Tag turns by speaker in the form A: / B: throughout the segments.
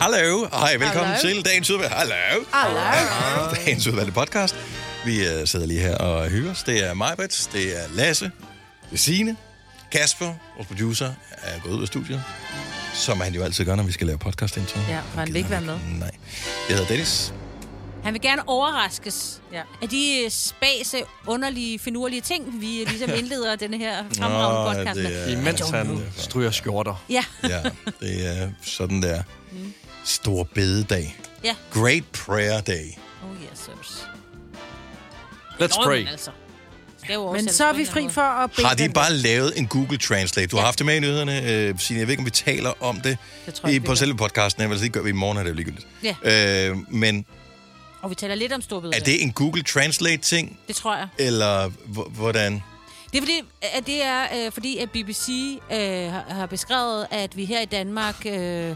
A: Hallo, og hej, velkommen
B: Hallo.
A: til dagens udvalg. Hallo.
B: Hallo.
A: Dagens udvalgte podcast. Vi øh, sidder lige her og hygger os. Det er mig, det er Lasse, det er Signe, Kasper, vores producer, er gået ud af studiet. Som han jo altid gør, når vi skal lave podcast intro.
C: Ja, for han vil ikke være med.
A: Nej. Jeg hedder Dennis.
C: Han vil gerne overraskes ja. af de øh, spase, underlige, finurlige ting, vi øh, ligesom indleder denne her fremragende
A: Nå,
C: podcast
A: det er-
C: med.
D: Imens
A: Jo,
D: han
A: nu.
D: stryger skjorter.
C: Ja,
A: Ja, det er sådan der. Stor bededag.
C: ja.
A: Great Prayer Day.
C: Oh yes, sirs.
D: Let's
C: Nå,
D: pray.
C: men altså. Skal jo
B: Men
C: oversættes
B: så er
C: på
B: vi
C: en
B: fri
C: eller
B: for at bede
A: Har de
B: dem.
A: bare lavet en Google Translate? Du har haft det med i nyhederne, øh, Signe. Jeg ved ikke, om vi taler om det
C: Jeg tror
A: i,
C: ikke, vi
A: på
C: gør.
A: selve podcasten. Ellers det gør vi i morgen, er det jo ligegyldigt. Øh, men
C: anden måde. Og vi taler lidt om storbededag.
A: er det en Google Translate-ting,
C: Det tror jeg.
A: eller h- hvordan?
C: Det er fordi, at det er, øh, fordi at BBC øh, har- har beskrevet, at vi her i Danmark øh,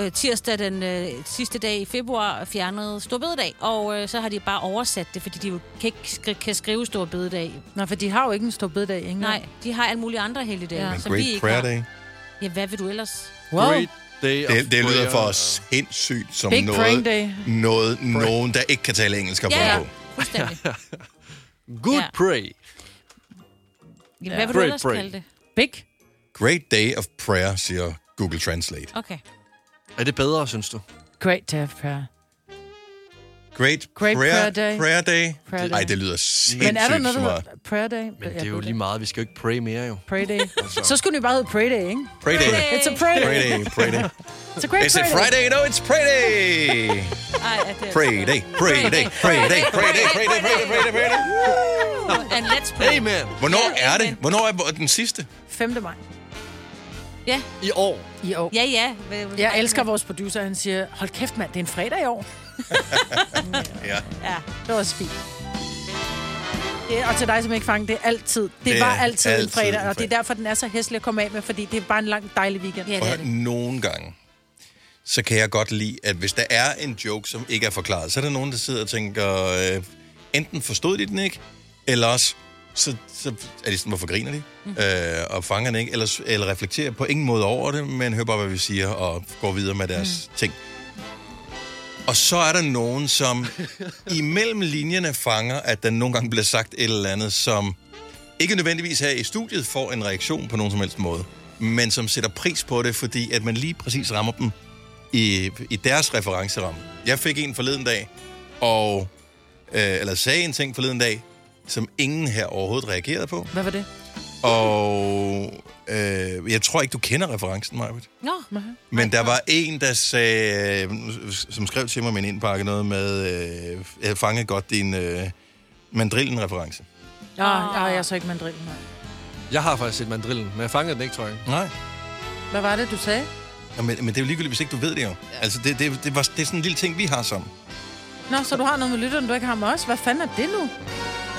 C: øh, tirsdag den øh, sidste dag i februar fjernede Storbededag. Og øh, så har de bare oversat det, fordi de jo kan ikke skri- kan skrive Storbededag.
B: Nå, for de har jo ikke en stor bededag i England.
C: Nej, de har alle mulige andre helligdage,
A: Men
C: ja. som vi
A: Great
C: ikke
A: Prayer
C: har.
A: Day?
C: Ja, hvad vil du ellers?
B: Wow.
D: Great day of
A: Det, det lyder
D: prayer.
A: for sindssygt som
B: Big
A: noget,
B: Brain Day.
A: noget nogen, der ikke kan tale engelsk, har
C: Ja,
A: fundet
C: ja,
A: på.
C: fuldstændig.
D: Good
C: Ja.
D: pray.
C: Jamen, hvad vil du
D: Pray,
C: ellers
D: pray.
C: kalde det?
B: Big.
A: Great Day of Prayer, siger Google Translate.
C: Okay.
D: Er det bedre, synes du?
B: Great day of prayer.
A: Great,
B: Great
A: prayer,
B: Prayer Day.
A: prayer Day.
B: Prayer
A: Ej,
B: Day.
A: det lyder sindssygt
B: Men er der noget, der
A: så meget.
B: hedder prayer day?
D: Men det er jo lige meget. Vi skal jo ikke pray mere, jo.
B: Pray day.
A: Altså.
B: så skulle den jo bare hedde pray day, ikke?
A: Pray Day.
B: It's a pray
A: Pray
B: day.
A: Day, Pray Day.
B: It's a great
A: Is it
B: pray day.
A: Friday? No, it's Pray Day.
C: Ej, ja, det er altså-
A: Pray Day, Pray Day, Pray Day, Pray Day, Pray Day, Pray Day, Pray Day, Pray Day.
C: And let's play.
D: Amen.
A: Hvornår er det? Hvornår er den sidste?
B: 5. maj
C: Ja,
D: I år.
B: i år.
C: ja, ja. Hvad-
B: Jeg elsker vores producer, han siger, hold kæft mand, det er en fredag i år.
A: Ja.
C: Ja.
B: Det var også fint. Ja, og til dig, som ikke fangede det, altid. Det,
A: Det
B: var
A: er
B: altid,
A: altid
B: en fredag,
A: en
B: og det er
A: fredag.
B: derfor, den er så hæslig at komme af med, fordi det er bare en lang, dejlig weekend.
C: Ja,
A: Og
C: det er det.
A: nogle gange, så kan jeg godt lide, at hvis der er en joke, som ikke er forklaret, så er der nogen, der sidder og tænker, øh, enten forstod de den ikke, eller også, så, så er de sådan, hvorfor griner de?
C: Mhm.
A: Øh, og fanger den ikke, eller, eller reflekterer på ingen måde over det, men hører bare, hvad vi siger, og går videre med
C: Mhm.
A: deres ting. Og så er der nogen, som imellem linjerne fanger, at der nogle gange bliver sagt et eller andet, som ikke nødvendigvis her i studiet får en reaktion på nogen som helst måde, men som sætter pris på det, fordi at man lige præcis rammer dem i, i deres referenceramme. Jeg fik en forleden dag, og, øh, eller sagde en ting forleden dag, som ingen her overhovedet reagerede på.
B: Hvad var det?
A: Og øh, jeg tror ikke, du kender referencen, Marvitt.
C: Nå,
A: Men der var en, der sagde, øh, som skrev til mig med en indpakke noget med, øh, jeg fangede godt din øh, mandrillen-reference.
B: Ja, ja, jeg er så ikke mandrillen. nej.
D: Jeg har faktisk set mandrillen, men jeg fangede den ikke, tror jeg.
A: Nej.
B: Hvad var det, du sagde?
A: Ja, men, men det er jo ligegyldigt, hvis ikke du ved det jo. Ja. Altså, det, det, det, var, det er sådan en lille ting, vi har sammen.
B: Nå, så du har noget med lytteren, du ikke har med os. Hvad fanden er det nu?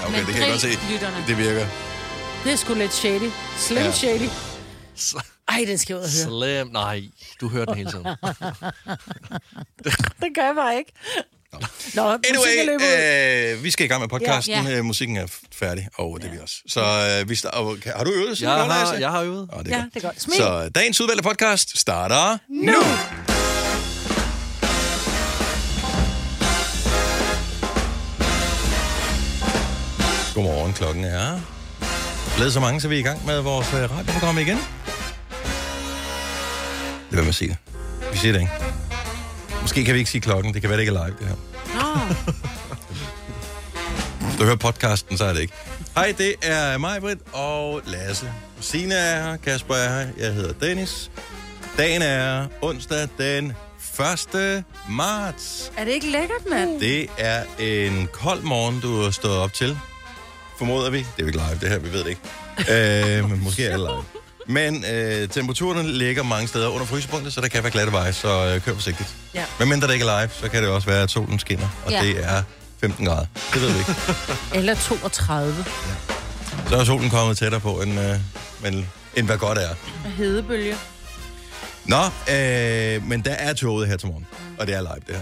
A: Ja, okay, det kan jeg godt se.
C: Mandrillytterne.
A: Det virker.
B: Det er sgu lidt shady. Slim
A: Ja.
B: ja. shady.
D: Så-
B: Ej, den skal jeg ud og høre.
D: Slam. Nej, du hører den hele tiden.
B: Den gør jeg bare ikke. Nå, Nå musikken
A: Anyway,
B: løber ud.
A: øh, vi skal i gang med podcasten. Ja,
C: Ja.
A: ja. Øh, musikken er f- færdig, og det er vi også. Så øh, vi starter... Og, kan- har du øvet?
D: Jeg har, jeg har øvet.
A: Oh, det er
B: Ja,
A: godt.
B: det er godt. Smil.
A: Så dagens udvalgte podcast starter nu. Godmorgen, klokken er blevet så mange, så vi er i gang med vores øh, radioprogram igen. Det vil man sige. Vi siger det ikke. Måske kan vi ikke sige klokken. Det kan være, det ikke er live, det her. Hvis du hører podcasten, så er det ikke. Hej, det er mig, Britt, og Lasse. Sina er her, Kasper er her, jeg hedder Dennis. Dagen er onsdag den 1. marts.
B: Er det ikke lækkert, mand?
A: Det er en kold morgen, du har stået op til. Formoder vi. Det er jo ikke live, det her, vi ved det ikke. øh, men måske er det live. Men øh, temperaturen ligger mange steder under frysepunktet, så der kan være glatte veje, så øh, kør forsigtigt.
B: Ja.
A: Men mindre det ikke er live, så kan det også være, at solen skinner, og
C: Ja.
A: ja. det er 15 grader. Det ved vi ikke.
B: Eller 32.
A: Så er solen kommet tættere på, end, øh, end, end hvad godt er.
B: Hedebølge.
A: Nå, øh, men der er toget her til morgen, og det er live, det her.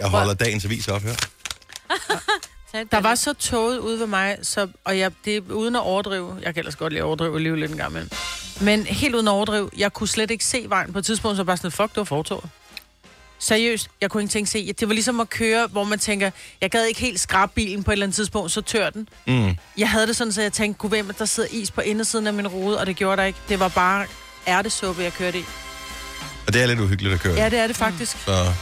A: Jeg holder dagens avis op her.
C: tag et
B: Der
C: billede.
B: var så tåget ude ved mig, så, og jeg, det er uden at overdrive. Jeg kan ellers godt lide at overdrive livet lidt en gang imellem. Men helt uden at overdrive, jeg kunne slet ikke se vejen på et tidspunkt, så jeg bare sådan, fuck, det var fortoget. Seriøst, jeg kunne ikke tænke se. Det var ligesom at køre, hvor man tænker, jeg gad ikke helt skrabe bilen på et eller andet tidspunkt, så tør den.
A: Mm.
B: Jeg havde det sådan, så jeg tænkte, kunne hvem, der sidder is på indersiden af min rude, og det gjorde der ikke. Det var bare ærtesuppe, jeg kørte i.
A: Og det er lidt uhyggeligt at køre.
B: Ja, det er det faktisk.
D: Mm.
A: Så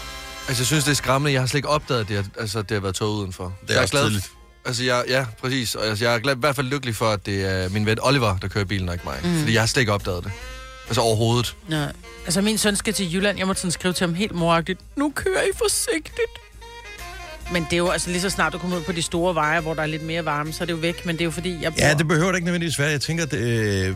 D: Altså, jeg synes, det er skræmmende. Jeg har slet ikke opdaget, at det, er, altså, det har været tog udenfor.
A: det er,
D: jeg
A: også
D: glad-
A: tidligt.
D: Altså, jeg, ja, præcis. Og altså, jeg er glad, i hvert fald lykkelig for, at det er min ven Oliver, der kører bilen, og ikke mig. Mm. Fordi jeg har slet ikke opdaget det. Altså, overhovedet.
B: Nej. Altså, min søn skal til Jylland. Jeg måtte sådan skrive til ham helt moragtigt. Nu kører I forsigtigt. Men det er jo altså lige så snart du kommer ud på de store veje, hvor der er lidt mere varme, så er det jo væk. Men det er jo fordi, jeg bor...
A: Ja, det behøver det ikke nødvendigvis være. Jeg tænker, at øh,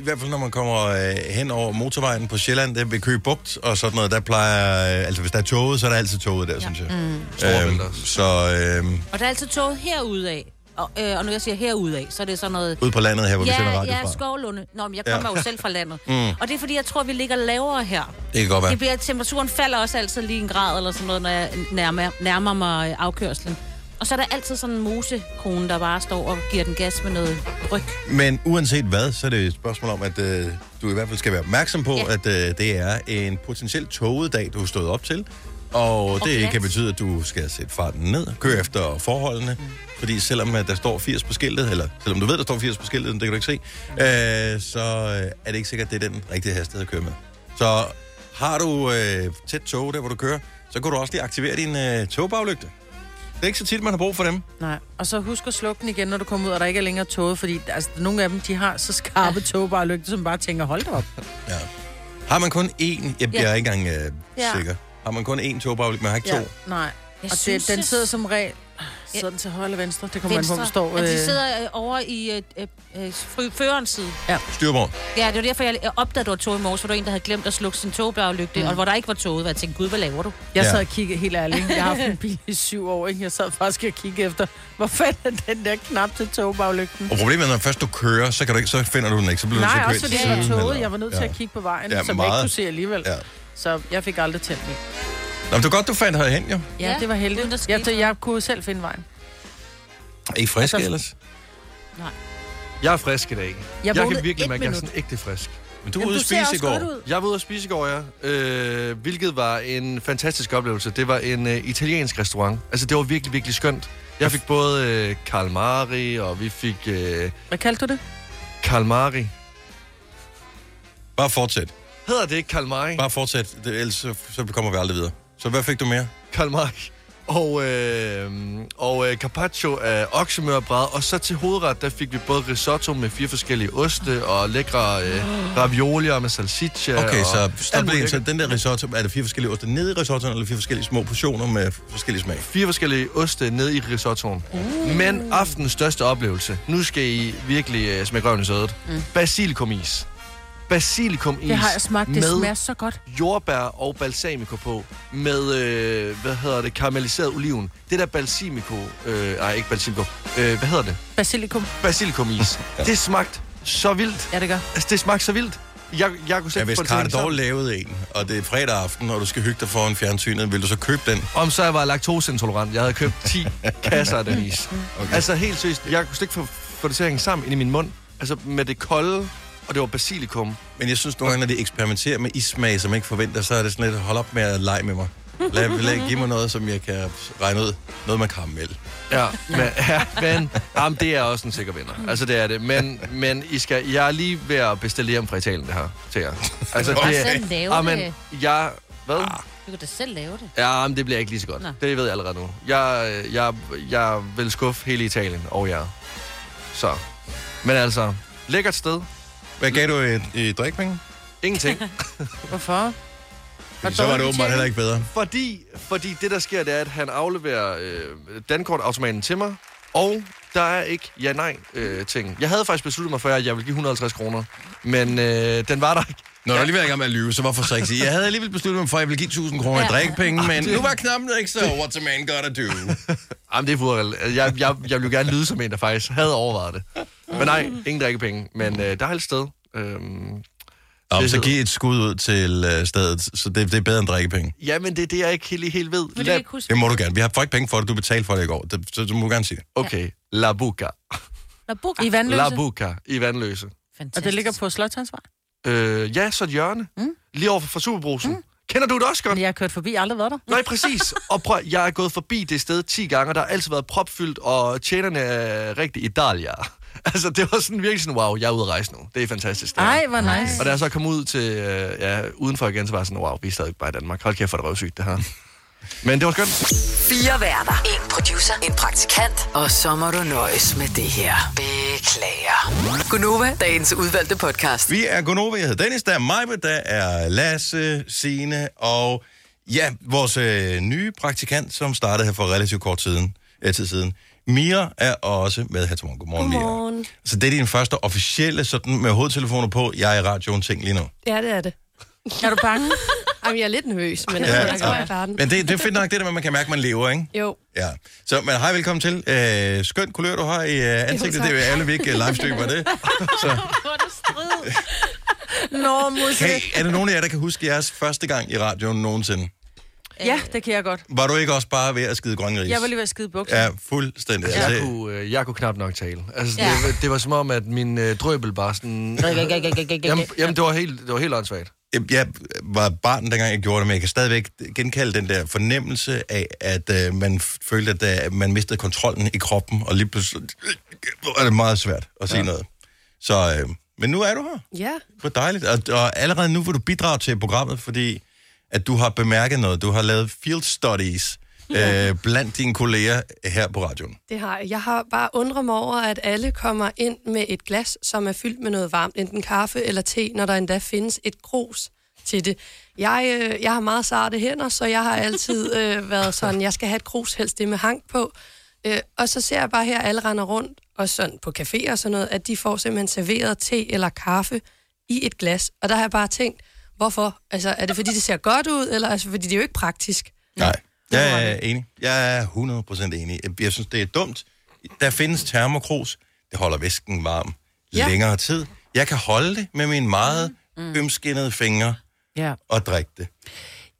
A: i hvert fald når man kommer øh, hen over motorvejen på Sjælland, der ved Køge Bugt og sådan noget, der plejer... Øh, altså, hvis der er toget, så er der altid toget der, ja. synes jeg.
C: Mm.
D: Store
A: Øhm,
D: vælter.
A: så øh,
C: Og der er altid toget herude af. Og, øh, og når jeg siger herude af, så er det sådan noget...
A: ude på landet her, hvor vi sender
C: Ja,
A: radio
C: ja,
A: fra.
C: Skovlunde. Nå, men jeg
A: Ja.
C: kommer jo selv fra landet.
A: Mm.
C: Og det er fordi, jeg tror, vi ligger lavere her.
A: Det kan godt være.
C: Det bliver, temperaturen falder også altid lige en grad eller sådan noget, når jeg nærmer, nærmer mig øh, afkørslen. Og så er der altid sådan en mosekone, der bare står og giver den gas med noget ryg.
A: Men uanset hvad, så er det et spørgsmål om, at øh, du i hvert fald skal være opmærksom på, ja.
C: Ja.
A: at øh, det er en potentielt toget dag, du har stået op til. Og det
C: glat.
A: kan betyde, at du skal sætte farten ned, køre efter forholdene. Mm. Fordi selvom at der står 80 på skiltet, eller selvom du ved, der står 80 på skiltet, det kan du ikke se, øh, så øh, er det ikke sikkert, at det er den rigtige hastighed at køre med. Så har du øh, tæt tog der, hvor du kører, så kan du også lige aktivere din øh, togbaglygte. Det er ikke så tit, man har brug for dem.
B: Nej. Og så husk at slukke den igen, når du kommer ud, og der ikke er længere toget, fordi altså, nogle af dem, de har så skarpe togbar lygte, som bare tænker, hold da op.
A: Ja. Har man kun én? Jeg bliver
C: Ja.
A: ja. ikke engang øh, ja.
C: Ja.
A: sikker. Har man kun én togbaglygt? Man har ikke ja. to.
B: Nej.
C: Jeg
B: og
C: synes, Ah,
B: det, den
C: jeg-
B: sidder som regel... Sidder den til højre eller venstre? Det kommer man på, om
C: Venstre.
B: den står...
C: Ja,
B: Øh...
C: de sidder øh, over i øh, øh, øh, fry- førerens side.
A: Styrbord.
C: Ja, det var derfor, jeg jeg opdagede, at der var tog i morges, for der var en, der havde glemt at slukke sin togbaglygte, mm. og hvor der ikke var toget, var jeg tænkte, gud, hvad laver du?
B: Jeg
A: Ja.
B: sad og kiggede helt ærligt. ikke? Jeg har haft en bil i syv år, ikke? Jeg sad faktisk og kiggede efter, hvor fanden er den der knap til togbaglygten?
A: Og problemet er, når først du kører, så, kan du ikke, så finder du den ikke. Så bliver du nødt
B: Nej, også
A: til at
B: fordi
A: køre
B: jeg var
A: ind til siden,
B: toget.
A: eller-
B: Jeg var nødt til at kigge på vejen,
A: Ja,
B: som jeg
A: meget.
B: ikke kunne se alligevel.
A: Ja.
B: Så jeg fik aldrig tændt den.
A: Nå, men det er godt, du fandt herhen, jo.
B: Ja, det var
C: uden der
B: heldigt.
C: skete
B: Jeg, jeg kunne selv finde vejen.
A: Er I friske altså,
B: Altså-
A: ellers?
D: Jeg er frisk i dag. Jeg, jeg
B: vågnede
D: kan virkelig
B: et
D: mærke, at jeg er
B: minut.
D: sådan ægte frisk.
A: Men du var ude at spise i går.
B: ud.
D: Jeg var ude at spise i går, ja. Øh, hvilket var en fantastisk oplevelse. Det var en øh, italiensk restaurant. Altså, det var virkelig, virkelig skønt. Jeg fik både øh, calmari, og vi fik øh,
B: Hvad kaldte du det?
D: calmari.
A: Bare fortsæt.
D: Hedder det ikke calmari?
A: Bare fortsæt. Det, ellers så, så kommer vi aldrig videre. Så hvad fik du mere?
D: Kalmark. Og, øh, og øh, carpaccio af oksemørbræd. Og så til hovedret, der fik vi både risotto med fire forskellige oste og lækre øh, raviolier med salsiccia.
A: Okay,
D: og
A: så
D: alt
A: stop lige.
D: muligt
A: Så
D: lækkert.
A: den der risotto, er det fire forskellige oster nede i risottoen, eller fire forskellige små portioner med forskellige smag?
D: Fire forskellige oste ned i risottoen.
B: Mm.
D: Uh. Men aftenens største oplevelse. Nu skal I virkelig øh, smække røven i sødet. Mm. Basilikumis. Basilikumis
B: Det har jeg smagt. Det
D: med
B: smager så godt.
D: jordbær og balsamico på, med, øh, hvad hedder det, karamelliseret oliven. Det der balsamico, øh, nej, ikke balsamico, øh, hvad hedder det?
B: Basilikum.
D: Basilikumis. ja. Det smagte så vildt.
B: Ja, det gør.
D: Altså, det smagte så vildt. Jeg, jeg kunne
A: Ja,
D: selv
A: hvis
D: få det til at
A: Karl
D: hænge
A: dog
D: sammen.
A: lavede en, og det er fredag aften, og du skal hygge dig foran fjernsynet, vil du så købe den?
D: Om så jeg var laktoseintolerant. Jeg havde købt 10 kasser af den is. Okay. Altså, helt seriøst, jeg kunne slet ikke få, få det til at hænge sammen ind i min mund. Altså, med det kolde, og det var basilikum.
A: Men jeg synes nogle gange, når de eksperimenterer med ismag, som jeg ikke forventer, så er det sådan lidt, hold op med at lege med mig. Lad, lad give mig noget, som jeg kan regne ud. Noget med karamel.
D: Ja, men, ja, men jamen, det er også en sikker vinder. Altså, det er det. Men, men I skal, jeg er lige ved at bestille hjem fra Italien, det her, til jer. Altså,
A: Du kan
D: det,
C: selv lave
D: Jamen,
C: det.
D: jeg... Hvad?
C: Du kan da selv lave det.
D: Ja, men det bliver ikke lige så godt.
C: Nå.
D: Det ved jeg allerede nu. Jeg, jeg, jeg vil skuffe hele Italien og jer. Så. Men altså, lækkert sted.
A: Hvad gav du i, i drikpenge?
D: Ingenting.
B: Hvorfor? Hvor
A: Så var det
B: dårligt
A: åbenbart heller ikke bedre.
D: fordi, fordi det, der sker, det er, at han afleverer øh, dankortautomaten til mig, og der er ikke ja-nej-ting. jeg havde faktisk besluttet mig for, at jeg ville give 150 kroner, men øh, den var der ikke.
A: Når du alligevel er i gang med at lyve, så hvorfor så ikke sige? Jeg havde alligevel besluttet mig for, at jeg ville give 1000 kroner i
C: Ja.
A: drikpenge, men nu var knappen ikke så. What's a man gotta do?
D: Jamen, det er fodbold. Jeg, jeg, jeg ville gerne lyde som en, der faktisk havde overvejet det. Men nej, ingen drikkepenge. Men øh, der er et sted. Øhm,
A: Nå, så giv et skud ud til øh, stedet, så det, det er bedre end drikkepenge.
D: ja, men det er det, jeg ikke helt, helt ved.
C: Vil du ikke huske?
A: Det må du gerne. Vi har fået penge for det, du betalte for det i går. Det, så du må gerne sige det.
D: Okay, La Buca.
C: Nå, buk.
B: I vandløse.
D: La Buca i Vandløse.
C: Fantastisk.
B: Og det ligger på Slottshansvej.
D: Øh, ja, så et hjørne. Mm. Lige over for Superbrusen. Mm. Kender du det også godt?
B: Jeg har kørt forbi, aldrig været der.
D: Nej, præcis. Og prøv, jeg er gået forbi det sted 10 gange, og der har altid været propfyldt, og tjenerne er rigtig idalia. Altså, det var sådan virkelig sådan, wow, jeg er ude at rejse nu. Det er fantastisk. Det her.
B: Ej, hvor nice.
D: Og da jeg så kom ud til, øh, ja, udenfor igen, så var jeg sådan, wow, vi er stadig bare i Danmark. Hold kæft, for det røvsygt, det her. Men det var skønt.
E: Fire værter. En producer. En praktikant. Og så må du nøjes med det her. Beklager. Gunova, dagens udvalgte podcast.
A: Vi er Gunova, jeg hedder Dennis, der er Majbe, der er Lasse, Sine og ja, vores øh, nye praktikant, som startede her for relativt kort siden, øh, tid siden. Mia er også med her til morgen. Godmorgen, Mia.
F: Godmorgen.
A: Så det er din første officielle, sådan med hovedtelefoner på, jeg er i radioen ting lige nu.
F: Ja, det er det.
B: Er du bange?
F: Jamen, jeg er lidt nervøs, men altså, jeg tror, jeg klarer den.
A: Men det, det er fedt nok det der med, at man kan mærke, at man lever, ikke?
F: Jo,
A: Ja. Så, men hej, velkommen til. Øh, skønt kulør, du har i øh, ansigtet.
F: Jo,
A: Det
F: tak.
A: er jo alle, vi ikke øh, livestreamer det.
B: Nå, Musse.
A: Kan, er der nogen af jer, der kan huske jeres første gang i radioen nogensinde?
B: Ja, det kan jeg godt.
A: Var du ikke også bare ved at skide grøn ris?
B: Jeg var lige ved at skide i bukser.
A: Ja, fuldstændig.
D: Altså, jeg, kunne, øh, jeg kunne knap nok tale. Altså, ja. det, det, var som om, at min øh, drøbel bare sådan... Jamen, jamen det, var helt, det var helt åndssvagt.
A: jeg, jeg var barn, dengang jeg gjorde det, men jeg kan stadigvæk genkalde den der fornemmelse af, at øh, man f- følte, at øh, man mistede kontrollen i kroppen, og lige pludselig var det meget svært at sige ja. noget. Så, øh, men nu er du her.
F: ja.
A: Hvor dejligt. Og, og allerede nu vil du bidrage til programmet, fordi at du har bemærket noget. Du har lavet field studies øh, blandt dine kolleger her på radioen.
F: Det har jeg. Jeg har bare undret mig over, at alle kommer ind med et glas, som er fyldt med noget varmt, enten kaffe eller te, når der endda findes et krus til det. Jeg, øh, jeg har meget sarte hænder, så jeg har altid øh, været sådan, jeg skal have et krus, helst det med hang på. Øh, og så ser jeg bare her, alle render rundt, og sådan på caféer og sådan noget, at de får simpelthen serveret te eller kaffe i et glas. Og der har jeg bare tænkt, hvorfor? Altså, er det fordi, det ser godt ud, eller altså, fordi det er jo ikke praktisk?
A: Nej. Jeg er enig. Jeg er 100% enig. Jeg- Jeg synes, det er dumt. Der findes termokrus. Det holder væsken varm ja.
F: Ja.
A: længere tid. Jeg kan holde det med mine meget mm. ømskinnede fingre
B: Ja.
A: og drikke det.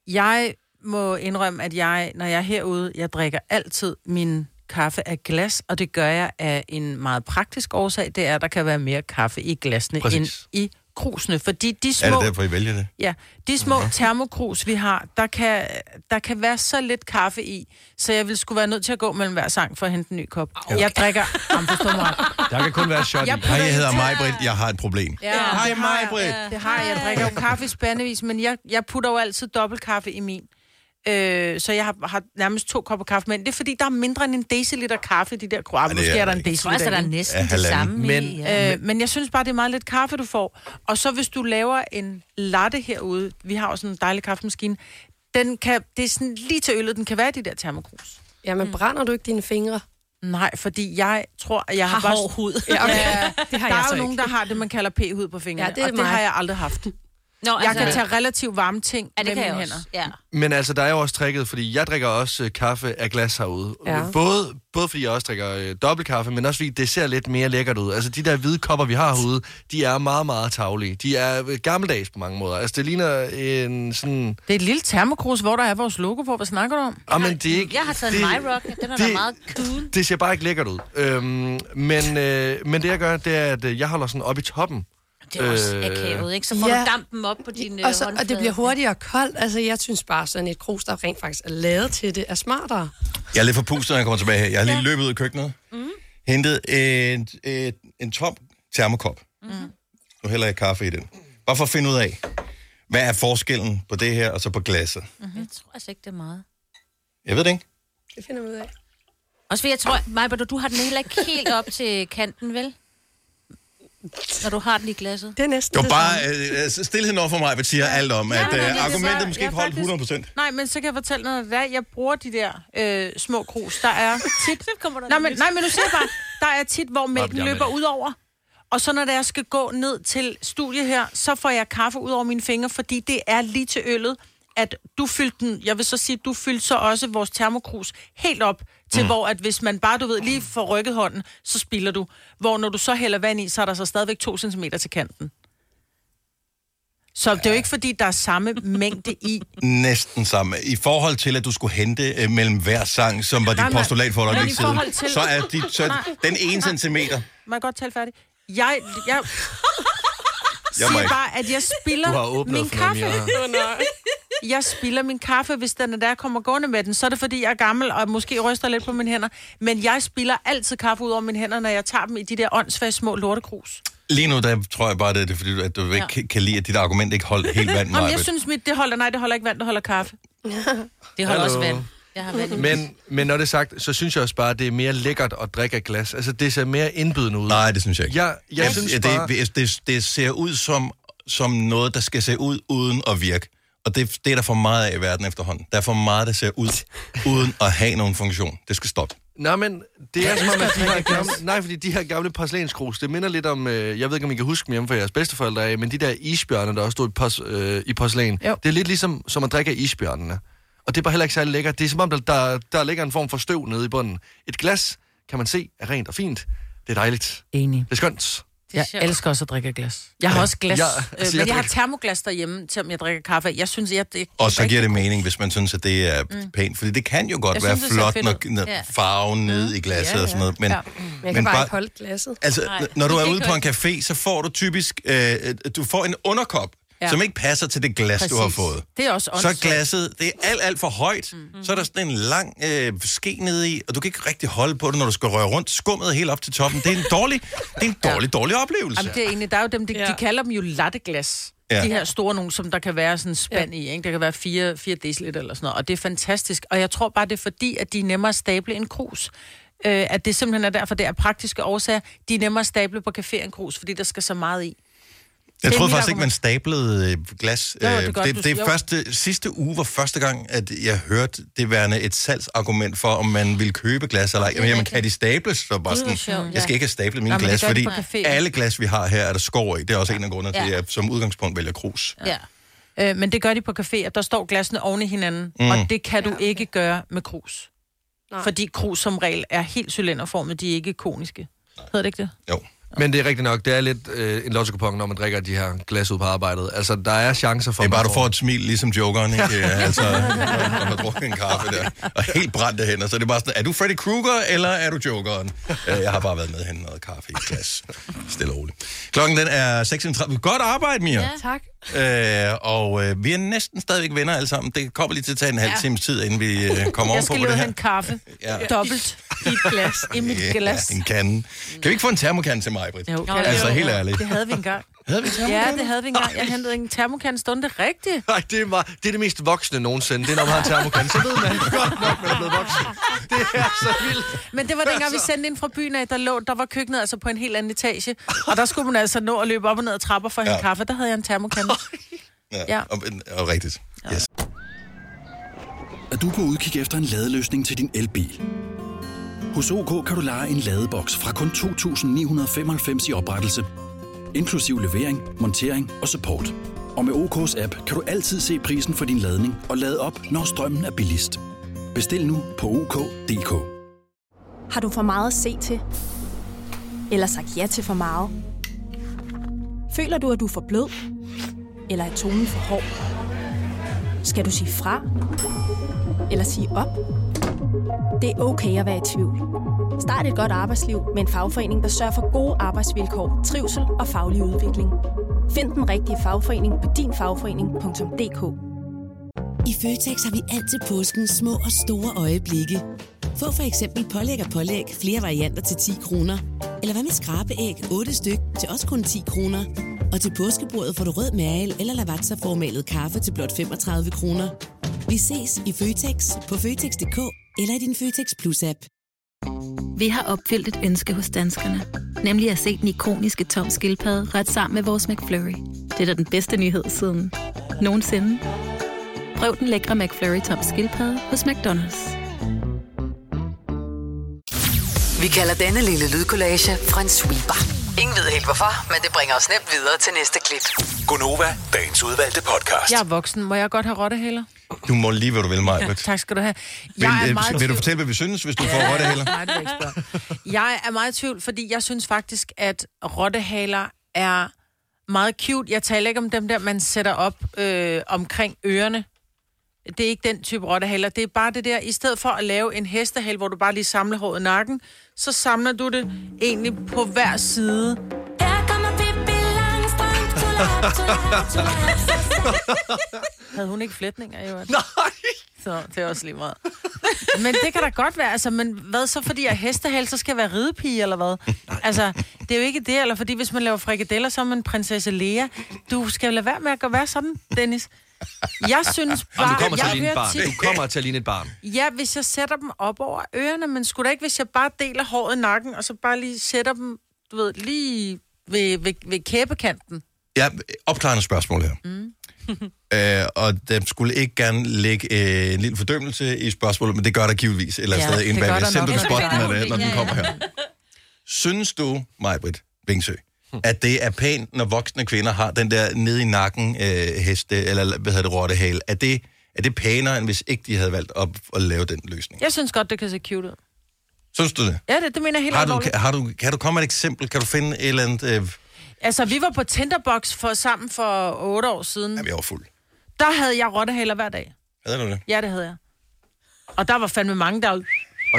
B: Jeg må indrømme, at jeg, når jeg er herude, jeg drikker altid min kaffe af glas, og det gør jeg af en meget praktisk årsag, det er, at der kan være mere kaffe i glasene Præcis.
D: Præcis.
B: end i krusene, fordi de små...
A: Er det derfor, I vælger det?
B: Ja, de små okay. termokrus, vi har, der kan, der kan være så lidt kaffe i, så jeg ville skulle være nødt til at gå mellem hver sang for at hente en ny kop. Okay. Jeg drikker... Jamen, forstå mig. ret.
D: Der kan kun være shot
B: Jeg
A: Hej,
B: putter
A: jeg
B: i
A: hedder
B: te-
A: Majbrit. Jeg har et problem.
B: Ja,
A: Hej,
B: det har jeg.
A: Majbrit.
B: Det har jeg. Jeg drikker jo kaffe i spandevis, men jeg, jeg putter jo altid dobbelt kaffe i min. Øh, så jeg har, har nærmest to kopper kaffe, men det er fordi, der er mindre end en deciliter kaffe i de der kruer.
A: det
B: Måske
A: er
B: er der
A: der
B: en
A: ikke.
C: tror også,
B: deciliter
C: at der er
B: i.
A: Ja,
C: næsten det
A: halvanden.
C: samme
D: Men-
C: i. Ja.
B: Øh, men jeg synes bare, det er meget lidt kaffe, du får. Og så hvis du laver en latte herude, vi har jo sådan en dejlig kaffemaskine, den kan, det er sådan lige til øllet, den kan være i de der termokrus.
F: Jamen,
C: Mm.
F: brænder du ikke dine fingre?
B: Nej, fordi jeg tror, at jeg har,
C: Har
B: bare-
C: hård hud.
F: Ja, okay.
B: Ja,
F: Det har
B: der
F: jeg
B: er
F: så
B: jo
F: ikke.
B: nogen, der har det, man kalder p-hud på fingrene,
F: Ja, det er
B: og det
F: mig.
B: har jeg aldrig haft.
C: Nå, altså-
B: Jeg kan tage relativt varme ting
C: ja, det
B: med
C: kan jeg
B: mine
C: også.
B: hænder.
C: Ja.
D: Men altså, der er jo også tricket, fordi jeg drikker også øh, kaffe af glas herude.
F: Ja.
D: Ja. Både, både fordi jeg også drikker øh, dobbeltkaffe, men også fordi det ser lidt mere lækkert ud. Altså, de der hvide kopper, vi har herude, de er meget, meget taglige. De er øh, gammeldags på mange måder. Altså, det ligner en sådan...
B: Det er et lille termokrus, hvor der er vores logo på. Hvad snakker du om?
D: Ah, men det er ikke,
C: Jeg har taget en
D: det,
C: MyRock, den er da
D: det-
C: meget cool.
D: Det ser bare ikke lækkert ud. Øhm, men, øh, men det, jeg gør, det er, at øh, jeg holder sådan op i toppen.
C: Det er også
D: Øh,
C: akavet, ikke? Så får
F: ja.
C: du dampen op på din øh,
F: og, så, og det
C: håndflade.
F: bliver hurtigere koldt. Altså, jeg synes bare, sådan et krus, der rent faktisk er lavet til det, er smartere.
A: Jeg er lidt forpustet, når jeg kommer tilbage her. Jeg har lige ja. løbet ud i køkkenet, mm. hentet en, en, en tom termokop. Mm. Nu hælder jeg kaffe i den. Bare for at finde ud af, hvad er forskellen på det her og så på glasset?
C: Jeg tror altså ikke, det er meget.
A: Jeg ved det ikke.
F: Det finder vi ud af.
C: Også fordi jeg tror, Maja, du har den heller ikke helt op til kanten, vel? Når du har den i glasset.
F: Det er næsten
A: Det var
F: det
A: bare
F: samme.
A: øh, øh, stillheden over for mig, vil sige alt om, at
B: nej, det er
A: øh,
B: det
A: argumentet
B: bare.
A: måske
B: Jeg
A: ikke holdt
B: faktisk-
A: 100 procent.
B: Nej, men så kan jeg fortælle noget af det. er. Jeg bruger de der øh, små krus. Der er tit...
C: kommer der
B: nej,
C: noget
B: men,
C: nyt.
B: nej, men nu siger jeg bare, der er tit, hvor mælken
D: jeg med
B: løber
D: det.
B: ud over. Og så når det er, jeg skal gå ned til studiet her, så får jeg kaffe ud over mine fingre, fordi det er lige til øllet, at du fyldte den, jeg vil så sige, du fyldte så også vores termokrus helt op til, mm. hvor at hvis man bare, du ved, lige får rykket hånden, så spilder du. Hvor når du så hælder vand i, så er der så stadigvæk to centimeter til kanten. Så det er jo ikke, fordi der er samme mængde i.
A: Næsten samme. I forhold til, at du skulle hente øh, mellem hver sang, som var dit
B: Nej, nej.
A: postulat for et
B: Men
A: øjeblik
B: i
A: siden,
B: forhold til-
A: så er dit, så den ene centimeter...
B: Må jeg godt tale færdig? Jeg, jeg
A: Jeg må
B: siger
A: ikke.
B: bare, at jeg
D: Du har
B: spiller
D: åbnet
B: min
D: for noget
B: kaffe.
D: mere.
B: jeg spilder min kaffe, hvis den er der kommer gående med den. Så er det, fordi jeg er gammel og måske ryster lidt på mine hænder. Men jeg spilder altid kaffe ud over mine hænder, når jeg tager dem i de der åndssvage små lortekrus.
A: Lige nu, der tror jeg bare, det er det, fordi du, at du ikke kan lide, at dit argument ikke holdt helt vand.
B: Om
A: Maja.
B: jeg synes, mit, det holder, nej, det holder ikke vand, det holder kaffe.
C: Det holder
D: Hallo.
C: også vand. Jeg har vand. i min-
D: Øh, Men, men når det er sagt, så synes jeg også bare, at det er mere lækkert at drikke af glas. Altså, det ser mere indbydende ud.
A: Nej, det synes jeg ikke.
D: Jeg, jeg, jeg synes
A: det,
D: bare...
A: det, det, det ser ud som, som noget, der skal se ud uden at virke. Og det, det er der for meget af i verden efterhånden. Der er for meget, der ser ud uden at have nogen funktion. Det skal stoppe.
D: Nej, men det er som om, at de her gamle, nej, fordi de her gamle porcelænskrus, det minder lidt om, øh, jeg ved ikke, om I kan huske dem hjemme fra jeres bedsteforældre af, men de der isbjørne, der også stod i, pos, øh, i porcelæn,
B: Jo.
D: det er lidt ligesom som at drikke af isbjørnene. Og det er bare heller ikke særlig lækkert. Det er som om, der, der, der ligger en form for støv nede i bunden. Et glas, kan man se, er rent og fint. Det er dejligt.
G: Enig.
D: Det er skønt.
G: Jeg
C: sjovt.
G: elsker også at drikke af glas.
B: Jeg har også glas,
D: Ja,
B: ja,
D: altså,
B: øh,
D: jeg
B: men jeg, har
D: drikker-
B: termoglas derhjemme, selvom jeg drikker kaffe. af. Jeg synes, jeg... Det,
A: Og så giver det mening, hvis man synes, at det er mm. pænt. Fordi det kan jo godt
B: Jeg
A: være
B: synes, det ser
A: flot,
B: fedt
A: når,
B: ud.
A: når
C: Ja.
A: farven nede i glasset
B: Ja, ja.
A: og sådan noget. Men,
B: Ja.
F: Men jeg kan
A: Men
F: bare
A: bare-
F: ikke holde glasset.
A: Altså,
C: Nej.
A: n- når du
C: Det
A: er
C: kan
A: ude på
C: jeg
A: en café, så får du typisk... Øh, øh, du får en underkop, ja.
B: Ja.
A: som ikke passer til det glas, Præcis. du har
B: Præcis.
A: fået.
B: Det er også
A: Så er
B: åndssvagt.
A: glasset, det er alt, alt for højt.
B: Mhm.
A: Mm-hmm. Så er der sådan en lang øh, ske nede i, og du kan ikke rigtig holde på det, når du skal røre rundt. Skummet helt op til toppen. Det er en dårlig, det er en dårlig, dårlig oplevelse.
B: Jamen, det er egentlig, der er jo dem, de, ja.
F: Ja.
B: de kalder dem jo latteglas.
A: Ja.
B: Ja. De her store nogle, som der kan være sådan en spand ja. i, ikke? Der kan være 4, 4 dl eller sådan noget, og det er fantastisk. Og jeg tror bare, det er fordi, at de er nemmere at stable en krus. Øh, at det simpelthen er derfor, det er praktiske årsager. De er nemmere at stable på café end krus, fordi der skal så meget i.
A: Jeg
B: Det er
A: troede
B: mit
A: faktisk ikke, man
B: argument.
A: stablede øh, glas.
B: Jo, jo, det
A: Øh,
B: er godt,
A: det,
B: du-
A: det er
B: jo.
A: første, sidste uge var første gang, at jeg hørte det værende et salgsargument for, om man ville købe glas eller ej. Jamen, jamen kan de stables? Så bare
C: Det
A: sådan,
C: lyder sjovt,
A: jeg skal
C: ja.
A: ikke have stablet mine
B: Nej, men det
A: glas,
B: gør de
A: fordi
B: på caféen.
A: alle glas, vi har her, er der skår i. Det er også en af grundene til, at
C: Ja.
A: jeg som udgangspunkt vælger krus.
C: Ja.
B: Øh, men det gør de på café, at der står glassene oven i hinanden, mm. og det kan du ikke gøre med krus.
F: Nej.
B: Nej. Fordi krus som regel er helt cylinderformet, de er ikke koniske. Hedder det ikke det?
A: Jo.
D: Men det er rigtigt nok, det er lidt øh, en lottokupon, når man drikker af de her glas ud på arbejdet. Altså, der er chancer for...
A: Det er bare,
D: at
A: du
D: man
A: får et smil, ligesom jokeren, ikke? Øh, altså, når man drukker en kaffe der, og helt brændte hænder. Så det er bare sådan, er du Freddy Krueger, eller er du jokeren? Øh, Jeg har bare været med hen noget kaffe i et glas. Stille og roligt. Klokken den er 36. Godt arbejde, Mia.
F: Tak.
A: Øh, og øh, vi er næsten stadigvæk venner alle sammen. Det kommer lige til at tage en halv times tid, inden vi øh, kommer
B: Jeg
A: ovenpå
B: skal
A: på det
B: lige have
A: her.
B: en kaffe.
A: Ja.
B: ja. Dobbelt i et glas, i mit
A: Ja,
B: glas.
A: en kande. Kan vi ikke få en termokande til mig, Britt?
B: Jo,
C: Nå,
B: kan
A: Altså,
B: jeg-
A: helt ærligt.
B: Det havde vi engang.
A: Havde vi en termokande?
B: Ja, det havde vi engang. Jeg hentede en termokan stående rigtigt.
D: Nej, det, er meget, det er det mest voksne nogensinde. Det er, når man har en termokan. Så ved man godt nok, man er blevet voksen. Det er så vildt.
B: Men det var dengang, vi
A: Altså.
B: sendte ind fra byen af, der, lå, der var køkkenet altså på en helt anden etage. Og der skulle man altså nå at løbe op og ned ad trapper for at hente
A: Ja.
B: kaffe. Der havde jeg en termokan.
A: Ja.
B: Ja.
A: Og, Øh, og rigtigt. Yes.
H: Er du på udkig efter en ladeløsning til din elbil? Hos OK kan du lege en ladeboks fra kun 2.995 i oprettelse, inklusiv levering, montering og support. Og med OK's app kan du altid se prisen for din ladning og lade op, når strømmen er billigst. Bestil nu på OK.dk.
I: Har du for meget at se til? Eller sagt ja til for meget? Føler du, at du er for blød? Eller er tonen for hård? Skal du sige fra? Eller sige op? Det er okay at være i tvivl. Start et godt arbejdsliv med en fagforening, der sørger for gode arbejdsvilkår, trivsel og faglig udvikling. Find den rigtige fagforening på dinfagforening.dk.
J: I Føtex har vi altid påsken små og store øjeblikke. Få for eksempel pålæg og pålæg flere varianter til 10 kroner. Eller hvad med skrabeæg 8 styk til også kun 10 kroner. Og til påskebordet får du rød mal eller lavatserformalet kaffe til blot 35 kroner. Vi ses i Føtex på Føtex.dk eller i din Føtex Plus-app.
K: Vi har opfyldt et ønske hos danskerne. Nemlig at se den ikoniske tom skildpadde ret sammen med vores McFlurry. Det er da den bedste nyhed siden nogensinde. Prøv den lækre McFlurry tom skildpadde hos McDonald's.
E: Vi kalder denne lille lydkollage en sweeper. Ingen ved helt hvorfor, men det bringer os nemt videre til næste klip.
H: Gonova, dagens udvalgte podcast.
B: Jeg er voksen. Må jeg godt have rottehælder?
A: Du må lige, hvad du vil, Maja. Britt.
B: Tak skal du have.
A: Vil,
B: Jeg er
A: øh,
B: meget i
A: vil du
B: tvivl.
A: fortælle, hvad vi synes, hvis du får rotte heller?
B: Nej, det vil jeg ikke spørge. Jeg er meget i tvivl, fordi jeg synes faktisk, at rottehaler er meget cute. Jeg taler ikke om dem der, man sætter op øh, omkring ørerne. Det er ikke den type rottehaler. Det er bare det der, i stedet for at lave en hestehal, hvor du bare lige samler håret i nakken, så samler du det egentlig på hver side.
J: Der kommer Pippi Langstrømpe, tulap, tulap, tulap, så
B: Havde hun ikke flætninger, jo? Nej! Så det er også lige meget. Men det kan da godt være, altså, men hvad så, fordi jeg er hestehal, så skal jeg være ridepige, eller hvad? Altså, det er jo ikke det, eller fordi hvis man laver frikadeller, så er man prinsesse Lea. Du skal jo lade være med at gøre- være sådan, Dennis. Jeg synes
D: Og
B: bare,
D: Ah, du kommer til
B: jeg
D: at ligne et
B: hører
D: barn. Du kommer til at ligne et barn.
B: Ja, hvis jeg sætter dem op over ørerne, men skulle da ikke, hvis jeg bare deler håret i nakken, og så bare lige sætter dem, du ved, lige ved, ved, ved kæbekanten.
A: Ja, opklarende spørgsmål her. Mm. øh, og der skulle ikke gerne ligge øh, en lille fordømmelse i spørgsmålet, men det gør der givetvis et eller andet
B: Ja,
A: ja, sted
B: det
A: inden bag.
B: gør
A: Jeg
B: der
A: sendte
B: nok.
A: den spot,
B: Ellers finder
A: når,
B: hun
A: det-
B: det.
A: når den
B: Ja,
A: kommer her. Synes du, Majbrit Vingsø, at det er pænt, når voksne kvinder har den der nede i nakken øh, heste, eller hvad hedder det, rottehale? Er det, er det pænere, end hvis ikke de havde valgt at, at lave den løsning?
B: Jeg synes godt, det kan se cute ud.
A: Synes du det?
B: Ja, det, det mener jeg helt
A: Har du,
B: alvorligt.
A: har du, kan du komme med et eksempel? Kan du finde et eller andet... Øh,
B: Altså, vi var på Tinderbox for, sammen for otte år siden.
A: jamen, jeg var fuld.
B: Der havde jeg rottehaler hver dag.
A: Havde du det?
B: Ja, det havde jeg. Og der var fandme mange, der...
D: Og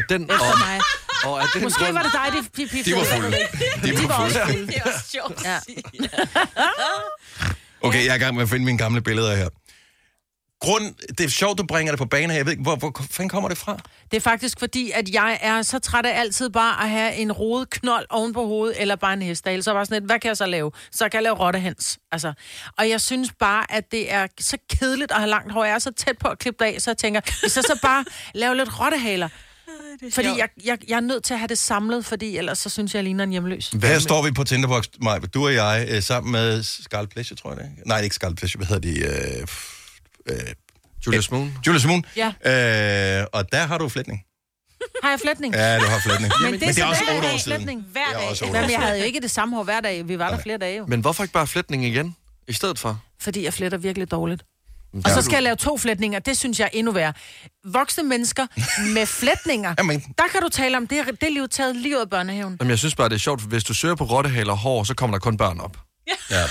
D: den... Og,
B: Efter mig.
D: og er den
B: Måske
D: grund-
B: var det dig, det pip, pip,
A: De var
B: jeg ved
A: fulde.
B: det ikke.
A: De var,
B: De var
A: fulde.
B: også fulde.
C: Det er også sjovt
B: Ja.
C: ja.
A: Okay, jeg er i gang med at finde mine gamle billeder her. Grund, det er sjovt, du bringer det på banen her. Jeg ved ikke, hvor, hvor fanden kommer det fra?
B: Det er faktisk fordi, at jeg er så træt af altid bare at have en rodet knold oven på hovedet, eller bare en hestdal. Så er jeg bare sådan lidt, hvad kan jeg så lave? Så kan jeg lave rottehans. Altså. Og jeg synes bare, at det er så kedeligt at have langt hår. Jeg er så tæt på at klippe det af, så jeg tænker, hvis jeg så bare laver lidt rottehaler. Fordi jeg, jeg, jeg er nødt til at have det samlet, fordi ellers så synes jeg, jeg ligner en hjemløs.
A: Her står vi på Tinderbox, Maj, du og jeg, øh, sammen med Scarlet Pleasure, tror jeg det er. Nej, ikke Scarlet Pleasure, hvad hedder de? Øh, f- øh,
D: Julius Moon.
A: Julius Moon.
B: Ja.
A: Øh, og der har du flætning.
B: Har jeg flætning?
A: Ja, du har flætning.
B: Men det, er
A: det er
B: så
A: også
B: hver
A: otte
B: dag
A: år siden.
B: flætning. Hver
A: Det er
B: dag.
A: også otte
B: Jamen,
A: år
B: jeg havde jo ikke det samme hår hver dag. Vi var der flere dage jo.
D: Men hvorfor ikke bare flætning igen? I stedet for?
B: Fordi jeg fletter virkelig dårligt.
D: Men
B: Og
D: der
B: så
D: er
B: skal
D: du-
B: jeg lave to flætninger, det synes jeg er endnu værre. Voksne mennesker med flætninger,
A: Jamen.
B: der kan du tale om, det er, det er livet taget lige ud af børnehaven.
D: Jamen, jeg synes bare, det er sjovt. Hvis du søger på rottehaler og hår, så kommer der kun børn op.
A: Ja.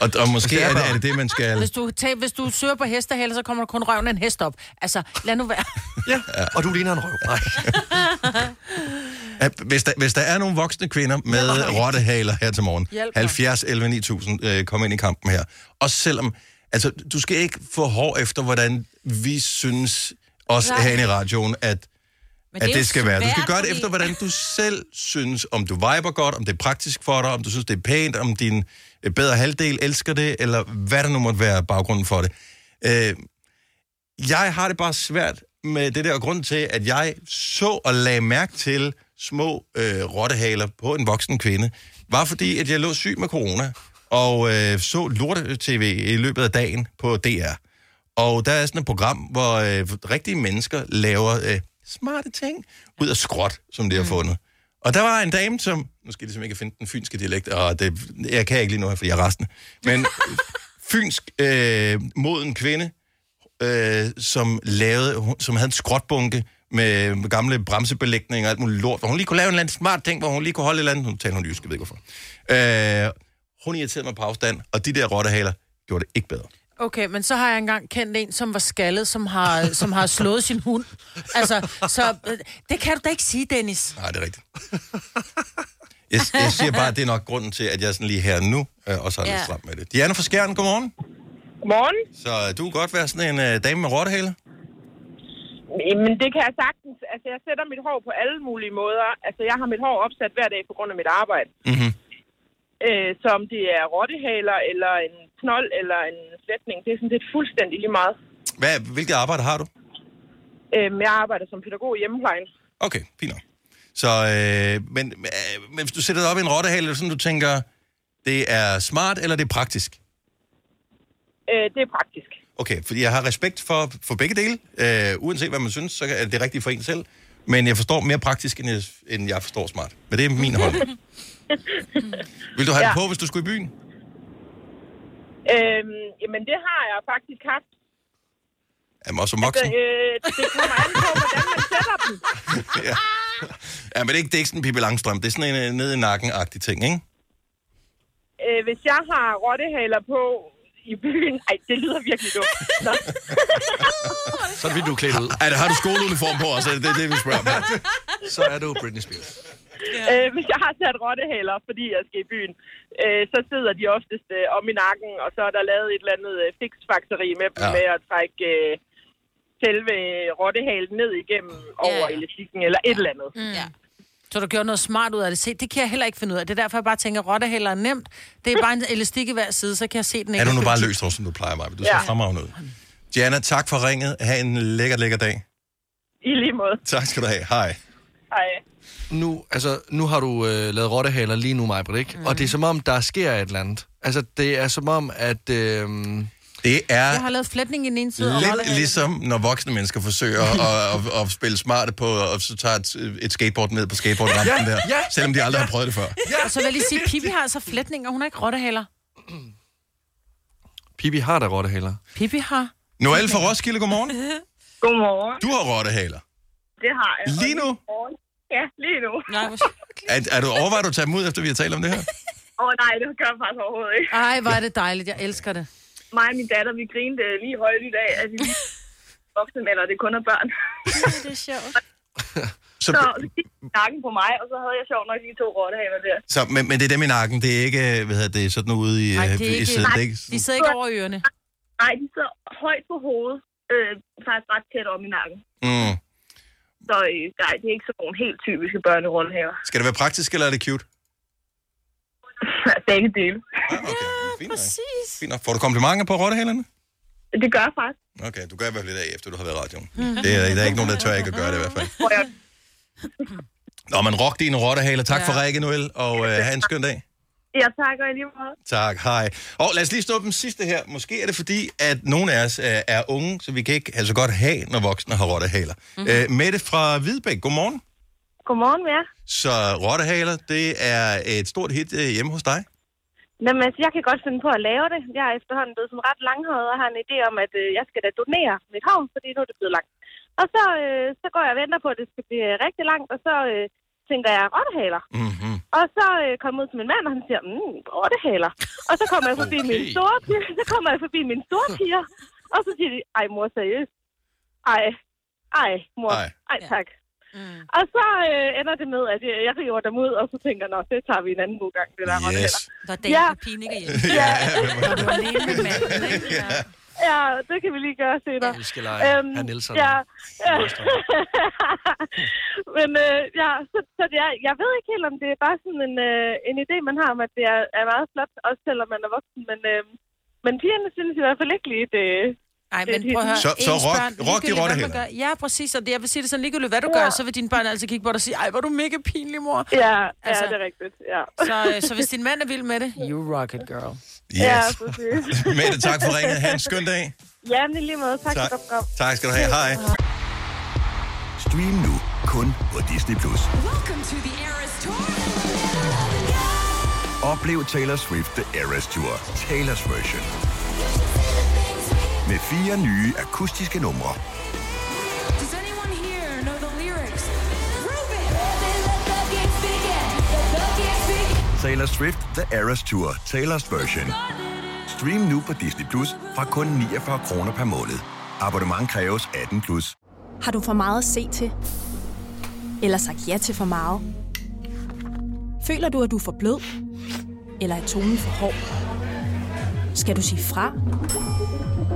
A: Og, og måske er det, er det det, man skal...
B: Hvis du, tag, hvis du søger på hestehale, så kommer der kun røven af en hest op. Altså, lad nu være.
D: Ja, og du ligner en røv. Nej.
A: Ja, Hvis der, hvis der er nogle voksne kvinder med rottehaler her til morgen,
B: Hjælp mig.
A: 70 11 9000, øh, kom ind i kampen her. Og selvom, altså, du skal ikke få hår efter, hvordan vi synes, os
C: Nej.
A: herinde i radioen, at,
C: Men
A: at
C: er jo
A: det skal være. Du skal
C: svært,
A: gøre det
C: fordi-
A: efter, hvordan du selv synes, om du viber godt, om det er praktisk for dig, om du synes, det er pænt, om din øh, bedre halvdel elsker det, eller hvad der nu måtte være baggrunden for det. Øh, jeg har det bare svært med det der grund til, at jeg så og lagde mærke til små øh, rottehaler på en voksen kvinde, var fordi, at jeg lå syg med corona, og øh, så lorte-tv i løbet af dagen på DR. Og der er sådan et program, hvor øh, rigtige mennesker laver øh, smarte ting ud af skrot, som de har fundet. Og der var en dame, som... Nu skal jeg ligesom ikke finde den fynske dialekt, og det, jeg kan ikke lige nu her, fordi jeg er resten. Men fynsk øh, moden kvinde, øh, som, lavede, hun- som havde en skrotbunke med, med gamle bremsebelægninger og alt muligt lort, hvor hun lige kunne lave en eller anden smart ting, hvor hun lige kunne holde et eller andet. Hun taler hun jysk, jeg ved ikke hvorfor. Øh, hun irriterede mig på afstand, og de der rottehaler gjorde det ikke bedre.
B: Okay, men så har jeg engang kendt en, som var skaldet, som har, som har slået sin hund. Altså, så øh, det kan du da ikke sige, Dennis.
A: Nej, det er rigtigt. Jeg, jeg siger bare, at det er nok grunden til, at jeg er sådan lige her nu, øh, og så er ja. lidt
C: Ja.
A: stram med det. Diana fra Skjern, godmorgen.
G: Morgen.
A: Så øh, du kunne godt være sådan en øh, dame med rottehale.
G: Men det kan jeg sagtens. Altså, jeg sætter mit hår på alle mulige måder. Altså, jeg har mit hår opsat hver dag på grund af mit arbejde.
A: Mm-hmm.
G: Øh, så om det er rottehaler, eller en knold, eller en flætning, det er sådan set fuldstændig lige meget.
A: Hvad, hvilket arbejde har du?
G: Øh, jeg arbejder som pædagog i hjemmeplejen.
A: Okay, fint nok. Så, øh, men, øh, men hvis du sætter dig op i en rottehale, er det sådan, du tænker, det er smart, eller det er praktisk?
G: Øh, det er praktisk.
A: Okay, fordi jeg har respekt for, for begge dele. Øh, uanset hvad man synes, så er det rigtigt for en selv. Men jeg forstår mere praktisk, end jeg, end jeg forstår smart. Men det er min holdning. Vil du have ja.
G: Ja.
A: den på, hvis du skulle i byen?
G: Øh, jamen, det har jeg faktisk haft.
A: Jamen også som
G: Så,
A: voksen.
G: øh, det kommer an på, hvordan man sætter dem.
A: Ja, men det er ikke, det er ikke sådan en Pippi Langstrøm. Det er sådan en øh, ned i nakken-agtig ting, ikke?
G: Øh, hvis jeg har rottehaler på i byen... Ej, det lyder virkelig dumt. Nå.
D: Så vil du klædt ud.
A: altså, Er det, har du skoleuniform på også? Er det det, vi spørger om?
D: Så er du Britney Spears.
G: Ja. Øh, hvis jeg har sat rottehæler, fordi jeg skal i byen, øh, så sidder de oftest øh, om i nakken, og så er der lavet et eller andet øh, fiksfakteri med dem
A: Ja.
G: ja. med at trække øh, selve rottehalen ned igennem ja. over elastikken eller et eller andet.
B: Mm. Ja. Så du gjorde noget smart ud af det. Se, det kan jeg heller ikke finde ud af. Det er derfor, jeg bare tænker, rottehælder er nemt. Det er bare en elastik i hver side, så kan jeg se den
A: Er du nu bare løs, som du plejer mig? Du ser
B: Ja.
A: ja. fremragende ud. Diana, tak for ringet. Ha' en lækker, lækker dag.
G: I lige måde.
A: Tak skal du have. Hej.
G: Hej.
D: Nu, altså, nu har du øh, lavet rottehaler lige nu, Maja ikke? Mm. Og det er som om, der sker et eller andet. Altså, det er som om, at... Øh...
A: Det er
B: Jeg har lavet flætning i den ene side. og
A: Lidt
B: rottehale.
A: ligesom, når voksne mennesker forsøger at, at, at spille smarte på, og så tager et, et skateboard ned på skateboardrampen
B: Ja,
A: ja, der,
B: ja,
A: ja, selvom de aldrig ja. har prøvet det før.
B: Ja. Og så vil jeg lige sige, at Pippi har altså flætning, og hun har ikke rottehaler.
D: Pippi har da rottehaler.
B: Pippi har...
A: Noelle fra Roskilde, godmorgen.
G: Godmorgen.
A: Du har rottehaler.
G: Det har jeg.
A: Lige nu?
G: Ja, lige nu.
B: Nej,
A: Er, er du overvejet at tage dem ud, efter vi har talt om det her?
G: Åh oh, nej, det gør jeg faktisk overhovedet ikke.
B: Ej, hvor er det dejligt. Jeg elsker det.
G: Mig og min datter, vi grinte øh, lige højt i dag, at vi voksne melder, det kun er børn. det er sjovt.
A: Så,
G: så, så gik de nakken på mig, og så havde jeg sjovt nok de to rottehaler der.
A: Så, men, men det er dem i nakken, det er ikke øh, hvad hedder det, sådan ude i,
G: Nej,
A: øh,
G: det er
A: i
G: ikke-
A: siden.
G: nej,
A: Det er ikke,
B: De sidder ikke over ørerne.
G: Nej, de sidder højt på hovedet, øh, faktisk ret tæt om i nakken.
A: mm.
G: Så øh, nej, det er ikke sådan nogle helt typiske børnerollehaver.
A: Skal det være praktisk, eller er det cute?
G: Altså, Begge dele.
A: Fint Præcis. Fint nok. Får du komplimenter på rottehalerne?
G: Det gør jeg faktisk.
A: Okay, du gør i hvert fald lidt af, efter du har været i radioen.
G: Mhm.
A: Det er, der er ikke nogen, der tør ikke at gøre det i hvert fald.
G: Hvor jeg,
A: Nå, men rock dine rottehaler. Tak ja. for
G: Ja.
A: rækken, Noel, og øh, have en skøn dag.
G: jeg takker i lige meget.
A: Tak, hej. Og lad os lige stå på den sidste her. Måske er det fordi, at nogle af os øh, er unge, så vi kan ikke altså godt have, når voksne har rottehaler.
G: Mhm.
A: Mm-hmm. Øh, Mette fra Hvidbæk, godmorgen.
G: Godmorgen med jer.
A: Så rottehaler, det er et stort hit øh, hjemme hos dig.
G: Jamen, altså, jeg kan godt finde på at lave det. Jeg er efterhånden blevet sådan ret langhåret og har en idé om, at øh, jeg skal da donere mit hår, fordi nu er det blevet langt. Og så, øh, så går jeg og venter på, at det skal blive øh, rigtig langt, og så øh, tænker jeg, rottehaler.
A: Mm-hmm.
G: Og så øh, kom jeg ud til min mand, og han siger, mm, rottehaler. Og så kommer jeg forbi okay. min store piger, så kommer jeg forbi min store piger, og så siger de, ej mor, seriøst. Ej, ej mor,
A: Ej.
G: ej, ej tak. Mm. Og så øh, ender det med, at jeg, jeg river dem ud, og så tænker jeg, nå, det tager vi en anden god gang, det der
A: Yes.
G: rottehaler.
C: Der er
G: ja,
C: Pine, ikke
A: ja,
G: ja, det kan vi lige gøre senere. Øhm,
D: Vi skal lege herr Nielsen.
G: Ja, ja. Men øh, ja, så, så det er, jeg ved ikke helt, om det er bare sådan en, øh, en idé, man har om, at det er, er meget flot, også selvom man er voksen. Men, øh, men pigerne synes i hvert fald ikke lige, det
B: Ej,
G: det er
B: men
G: de-
B: prøv at høre.
A: Så- så
B: ens
A: rock-
B: børn,
A: rock de
B: ligegyldigt, hvad man
A: rottehæler.
B: gør- Ja, præcis. Og det, jeg vil sige det sådan, ligegyldigt hvad du
G: Ja.
B: gør, så vil dine børn altid kigge på dig og sige, ej, hvor er du mega pinlig, mor. Altså,
G: Ja, ja, det er rigtigt, ja.
B: Så, øh, så hvis din mand er vild med det, you rock it, girl.
A: Yes.
G: Ja, præcis.
A: Mette, tak for ringet. Ha' en skøn dag.
G: Ja, men i lige måde. Tak,
A: Tak.
G: tak. for at
A: Tak skal du have. Hej.
L: Stream nu kun på Disney+. Plus. Oplev Taylor Swift The Eras Tour, Taylor's version. Med fire nye akustiske numre. Taylor Swift The Eras Tour, Taylor's version. Stream nu på Disney Plus fra kun 49 kroner per måned. Abonnement kræves 18 plus.
I: Har du for meget at se til? Eller sagt ja til for meget? Føler du, at du er for blød? Eller er tonen for hård? Skal du sige fra?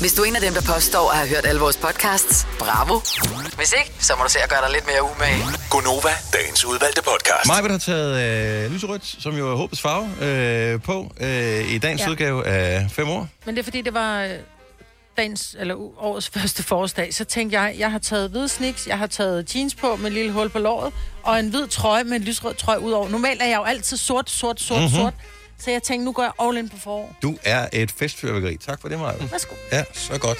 E: Hvis du er en af dem, der påstår at have hørt alle vores podcasts, bravo. Hvis ikke, så må du se at gøre dig lidt mere umage.
L: Gonova, dagens udvalgte podcast.
A: Majbert har taget øh, lyserødt, som jo er håbets farve, øh, på øh, i dagens
B: Ja.
A: ja. udgave af 5 år.
B: Men det er fordi, det var... øh, dagens, eller u- årets første forårsdag, så tænkte jeg, jeg har taget hvide sneaks, jeg har taget jeans på med et lille hul på låret, og en hvid trøje med en lysrød trøje ud over. Normalt er jeg jo altid sort, sort, sort,
A: Mhm.
B: mm-hmm. sort. Så jeg tænkte, nu går jeg all in på forår.
A: Du er et festfyrværkeri. Tak for det, Maja.
B: Værsgo.
A: Ja, så godt.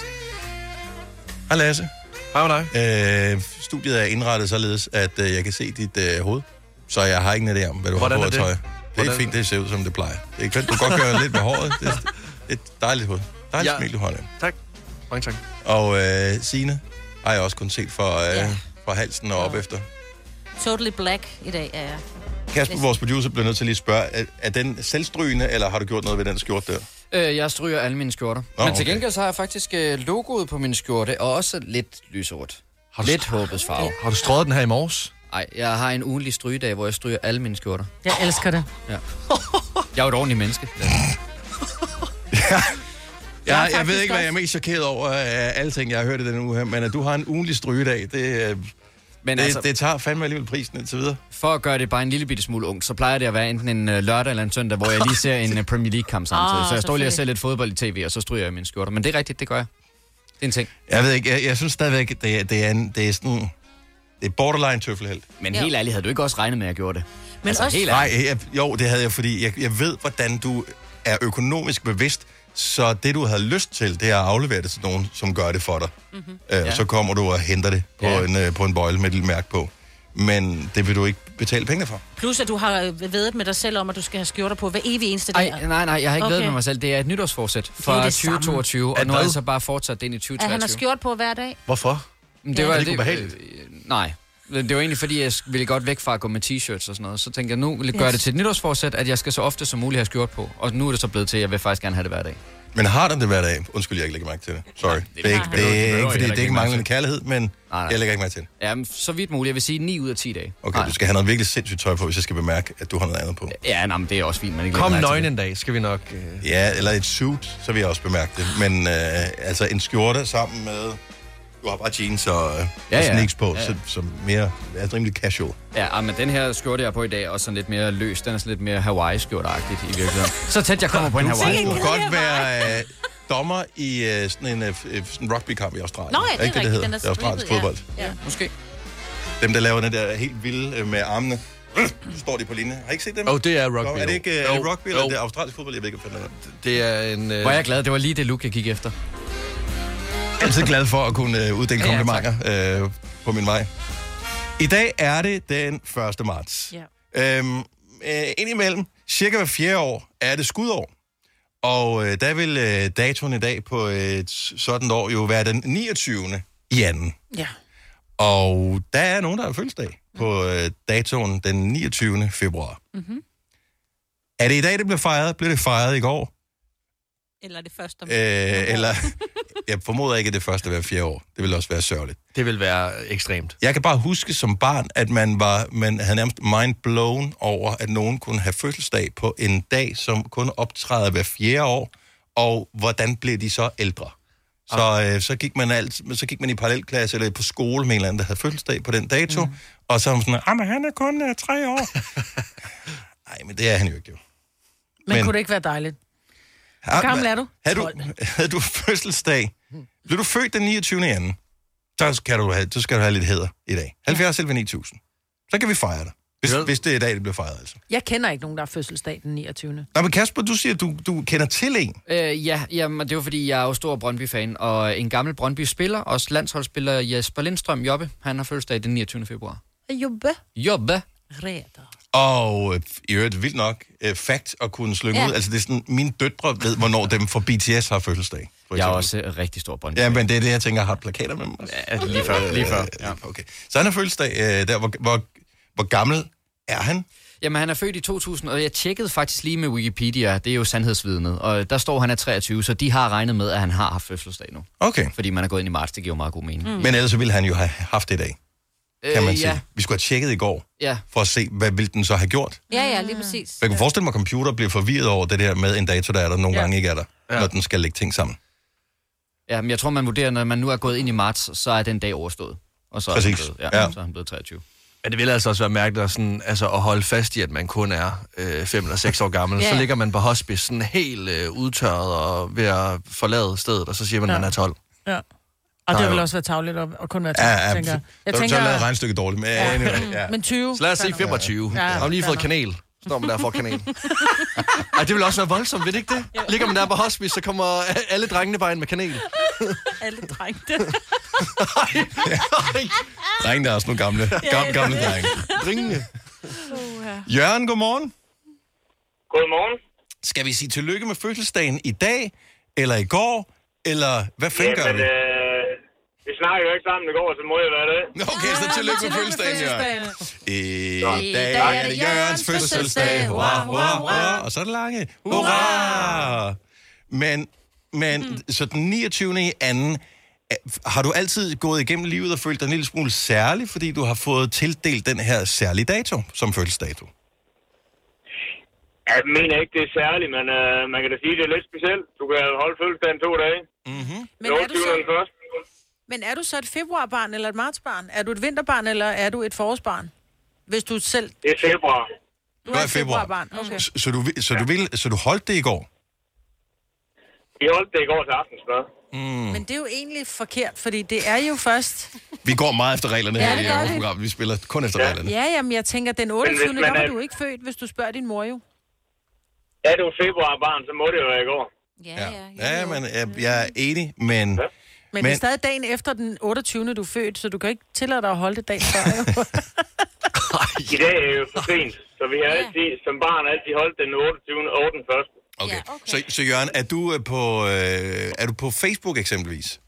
A: Hej Lasse.
D: Hej med
A: dig. Øh, studiet er indrettet således, at øh, jeg kan se dit øh, hoved, så jeg har ikke en idé om, hvad du
D: Hvordan
A: har
D: er
A: på
D: det?
A: tøj. Det er
D: Hvordan-
A: Hvordan? fint, det ser ud, som det plejer. Det er kønt, du kan godt gøre lidt med håret. Det er et dejligt hoved. Dejligt
D: Ja.
A: ja. smil, du har der.
D: Tak. Mange tak.
A: Og øh, Signe har jeg også kun set fra, øh, fra halsen og op efter.
C: Totally black i dag er jeg.
A: Kasper, vores producer, bliver nødt til lige at spørge, er, er den selvstrygende, eller har du gjort noget ved den skjorte der?
M: Øh, jeg stryger alle mine skjorter.
A: Nå,
M: Oh, Men til
A: okay.
M: gengæld så har jeg faktisk øh, logoet på min skjorte, og også lidt lyserødt. Har du lidt håbets farve.
D: Har du strøget den her i morges?
M: Nej, jeg har en ugenlig strygedag, hvor jeg stryger alle mine skjorter.
B: Jeg elsker det.
M: Ja. Jeg er jo et ordentligt menneske.
A: Ja, jeg, jeg
M: faktisk
A: ved ikke, hvad
M: også-
A: jeg er mest chokeret over af alting, jeg har hørt i den uge her, men at du har en ugenlig strygedag, det, øh,
M: Men
A: det,
M: altså-
A: altså, det tager fandme alligevel prisen indtil videre.
M: For at gøre det bare en lille bitte smule ungt, så plejer det at være enten en øh, lørdag eller en søndag, hvor jeg lige ser en øh, Premier League-kamp samtidig.
A: Ah,
M: så jeg står lige og ser
A: selvfølgelig.
M: lidt fodbold i tv, og så stryger jeg mine skjorter. Men det er rigtigt, det gør jeg. Det er en ting.
A: Jeg ved ikke, jeg, jeg synes stadigvæk, det, er- det, er, en, det er sådan... Det er borderline tøffelheld.
M: Men helt ærligt, havde du ikke også regnet med, at jeg gjorde det?
A: Men
M: Altså, også- helt
A: Nej,
M: ærligt.
A: jeg, jo, det havde jeg, fordi jeg, jeg ved, hvordan du er økonomisk bevidst, så det, du havde lyst til, det er at aflevere det til nogen, som gør det for dig. Mm-hmm. Øh, ja. Så kommer du og henter det på, ja. en, øh, på en bøjle med et lille mærke på. Men det vil du ikke betale penge for.
C: Plus, at du har øh, vedet med dig selv om, at du skal have skjorter på hver evig eneste dag.
M: Ej, nej, nej, jeg har ikke okay. ved med mig selv. Det er et nytårsforsæt
C: Det er
M: fra
C: det samme.
M: 2022, og
C: At
M: nu er
C: hvad?
M: jeg så bare fortsat ind i
C: At han har
M: 2023.
C: skjort på hver dag.
A: Hvorfor?
M: Men
C: Ja.
M: det var,
C: Er det ikke
A: ubehageligt?
M: øh, nej. Det var egentlig, fordi jeg ville godt væk fra at gå med t-shirts og sådan noget. Så tænkte jeg, nu vil jeg gøre
A: Yes.
M: det til et nytårsforsæt, at jeg skal så ofte som muligt have skjort på. Og nu er det så blevet til, at jeg vil faktisk gerne have det hver dag.
A: Men har den det hver dag? Undskyld, jeg ikke lægger mærke til det. Sorry. Det er ikke, det er ikke fordi det er ikke manglende kærlighed, men nej, nej. jeg lægger ikke mærke til det.
M: Ja, men så vidt muligt. Jeg vil sige 9 ud af 10 dage.
A: Okay, du skal have noget virkelig sindssygt tøj på, hvis jeg skal bemærke, at du har noget andet på.
M: Ja, nej, men det er også fint, man ikke
A: Kom
M: lægger mærke til
A: nøgen
M: det.
A: en dag, skal vi nok... Øh... Ja, eller et suit, så vil jeg også bemærke det. Men øh, altså en skjorte sammen med... Du har bare jeans og, øh,
M: Ja,
A: ja, og
M: ja.
A: sneaks på,
M: Ja,
A: ja,
M: ja.
A: ja. Så, som mere er rimelig casual.
M: Ja, ej, men den her skjorte, jeg har på i dag, er også sådan lidt mere løs. Den er sådan lidt mere Hawaii-skjortagtigt i virkeligheden. Så tæt jeg kommer på en
A: Du
M: Hawaii.
A: kunne godt være øh, dommer i øh, sådan en øh, øh, sådan en rugbykamp i Australien.
M: Nå ja, det er
A: ikke det,
M: rigtigt,
A: det hedder?
M: den er
A: Det er australsk
M: stribet, ja.
A: fodbold.
M: Ja, måske.
A: Dem, der laver den der helt vilde øh, med armene, står de på linje. Har I ikke set dem?
D: Jo, det er rugby,
A: Nå, er det ikke øh,
D: jo.
A: er det rugby, eller
D: Jo.
A: det er australsk fodbold? Jeg ved ikke, hvad fanden det er.
D: Det er en... Øh...
M: Hvor er jeg glad, det var lige det look, jeg gik efter.
A: Altid glad for at kunne øh, uddele
M: Ja, ja,
A: komplimenter øh, på min vej. I dag er det den 1. marts. Ja. Øhm, øh, indimellem, cirka hver fjerde år, er det skudår. Og øh, der vil øh, datoen i dag på et sådan år jo være den 29. i anden.
B: Ja.
A: Og der er nogen, der har fødselsdag på øh, datoen den 29. februar.
C: Mm-hmm.
A: Er det i dag, det bliver fejret? Blev det fejret i går?
C: Eller det første om
A: Øh, eller, jeg formoder ikke, at det første hver fjerde år. Det vil også være sørgeligt.
D: Det vil være ekstremt.
A: Jeg kan bare huske som barn, at man, var, man havde nærmest mind blown over, at nogen kunne have fødselsdag på en dag, som kun optræder hver fjerde år, og hvordan blev de så ældre? Så, øh, så, gik man alt, så gik man i parallelklasse eller på skole med en eller anden, der havde fødselsdag på den dato, mm. og så var man sådan, ah, men han er kun uh, tre år. Nej, men det er han jo ikke. Jo.
B: Men, men
A: Men-
B: kunne det ikke være dejligt?
A: Har-
B: Hvor gammel er du?
A: Havde du,
B: 12.
A: havde du fødselsdag? Blev du født den 29. i anden? Så, kan du have, så skal du have lidt hæder i dag. 70 eller 9000. Så kan vi fejre dig. Hvis, hvis det er i dag, det bliver fejret, altså.
B: Jeg kender ikke nogen, der har fødselsdag den 29.
A: Nå, men Kasper, du siger, du, du kender til en.
M: Øh, ja, jamen, og det var fordi, jeg er jo stor Brøndby-fan, og en gammel Brøndby-spiller, også landsholdsspiller Jesper Lindstrøm Jobbe, han har fødselsdag den 29. februar.
B: Jobbe.
M: Jobbe.
B: Reter.
A: Og øh, i øvrigt, vildt nok, øh, fakt at kunne slynge
M: Ja.
A: ja. ud. Altså, det er sådan, mine døtre ved, hvornår dem fra BTS har fødselsdag. For
M: Jeg er
A: eksempel.
M: også øh, rigtig stor brøndby
A: Ja, men det er det, jeg tænker, har plakater med mig. Ja,
M: lige før, lige før,
A: Ja. Okay. Så han har fødselsdag øh, der, hvor, hvor, hvor gammel er han?
M: Jamen, han er født i 2000, og jeg tjekkede faktisk lige med Wikipedia, det er jo sandhedsvidnet, og der står, at han er 23, så de har regnet med, at han har haft fødselsdag nu.
A: Okay.
M: Fordi man er gået ind i marts, det giver jo meget god mening.
A: Mm. Men ellers så ville han jo have haft det i dag, kan man sige.
M: ja.
A: Vi skulle have tjekket i går,
M: Øh, Ja.
A: for at se, hvad ville den så have gjort.
C: Ja, ja, lige præcis.
A: Jeg kunne forestille mig, at computer bliver forvirret over det der med en dato, der er der nogle
M: Ja.
A: ja. gange ikke er der, ja. når den skal lægge ting sammen.
M: Ja, men jeg tror, man vurderer, når man nu er gået ind i marts, så er den dag overstået. Og så er, han
A: Præcis,
M: blevet, ja,
A: ja.
M: så er han blevet 23.
D: Men det vil altså også være mærkeligt at, sådan, altså at holde fast i, at man kun er 5 øh, fem eller 6 år gammel.
B: Ja.
D: Så ligger man på hospice sådan helt øh, udtørret og ved at forlade stedet, og så siger man,
B: Ja.
D: at man er 12.
B: Ja.
D: Der
B: Og
D: er
B: det vil
D: jo-
B: også være tavligt at, at kun være 12,
D: Ja,
B: ja,
D: ja,
B: ja, tænker jeg. Jeg
A: så har du så lavet
B: tænker,
A: regnstykket dårligt. Men,
B: Ja.
A: anyway,
B: Mm.
A: ja.
B: men 20.
D: Så lad os
B: fair
D: sige
B: nok.
D: 25.
B: Ja,
D: Ja, Har man lige
B: fair
D: fået
B: nok.
D: kanel? Så Står man der og får kanel. Ej, det vil også være voldsomt, ved det ikke det? Ligger man der på hospice, så kommer alle drengene bare ind med kanel.
B: Alle drengene.
A: Ah. Drengene er også nogle gamle, gamle, gamle drenge.
D: Drengene.
A: Jørgen, godmorgen. Godmorgen. Skal vi sige tillykke med fødselsdagen i dag, eller i går, eller hvad fanden gør
N: Jamen,
A: vi?
N: Øh, vi snakker jo ikke sammen i går, så må jeg være det.
A: Okay, så tillykke med fødselsdagen, Jørgen. I dag er det Jørgens fødselsdag. Hurra, hurra, hurra. Og så er det lange. Hurra! Mm. Men, men så den 29. i anden, er- har du altid gået igennem livet og følt dig en lille smule særlig, fordi du har fået tildelt den her særlige dato som fødselsdato?
N: Jeg mener ikke, det er særligt, men øh, man kan da sige, det er lidt specielt. Du kan holde fødselsdagen to dage.
A: Mm-hmm.
B: Men er du så- Men er du så et februarbarn eller et martsbarn? Er du et vinterbarn, eller er du et forårsbarn? Hvis du selv...
N: Det er februar.
B: Du
A: Nå,
B: er
A: i
B: et
A: februar.
B: februarbarn. Okay.
A: Så, så, du, vil- så, du, vil, så du holdt det i går?
N: Vi holdt det i går til aftensmad.
A: Mm.
B: Men det er jo egentlig forkert, fordi det er jo først...
A: Vi går meget efter reglerne
B: Ja,
A: her
B: det
A: i
B: gør
A: vores
B: vi.
A: program. Vi spiller kun efter reglerne.
B: Ja, jamen, jeg tænker, den 28.
N: Men hvis man
B: der var
N: er-
B: du ikke født, hvis du spørger din mor jo.
N: Ja, det var februarbarn, så må det jo være i går.
A: Ja, ja, ja men jeg, jeg er enig, men... Men,
B: Men, men det er stadig dagen efter den 28. du er født, så du kan ikke tillade dig at holde det dagen før. jo.
N: I dag er jo for sent, så vi har altid, som barn altid holdt den 28. og den første.
A: Okay. Så, så Jørgen, er du øh, på, øh, er du på Facebook eksempelvis?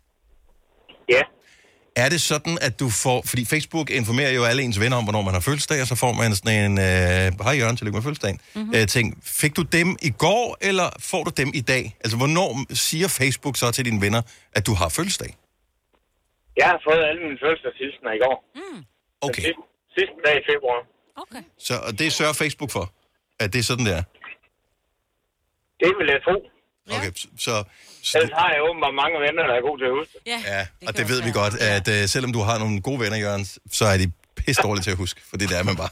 N: Ja.
A: Er det sådan, at du får... Fordi Facebook informerer jo alle ens venner om, hvornår man har fødselsdag, og så får man sådan en... Øh, Hej Jørgen, tillykke med fødselsdagen. Mm-hmm. Øh, tænk, fik du dem i går, eller får du dem i dag? Altså, hvornår siger Facebook så til dine venner, at du har fødselsdag?
N: Jeg har fået alle mine fødselsdagshilsener i går. Mm.
A: Okay.
N: Sidste, sidste dag i februar.
A: Så og det sørger Facebook for, at det er sådan, der.
N: Det vil jeg tro.
A: Okay, så... så
N: Ellers har jeg åbenbart mange venner, der er gode til at huske.
A: Ja, ja og det ved vi godt, at øh, selvom du har nogle gode venner, Jørgen, så er de pisse dårlige til at huske, for det er man bare.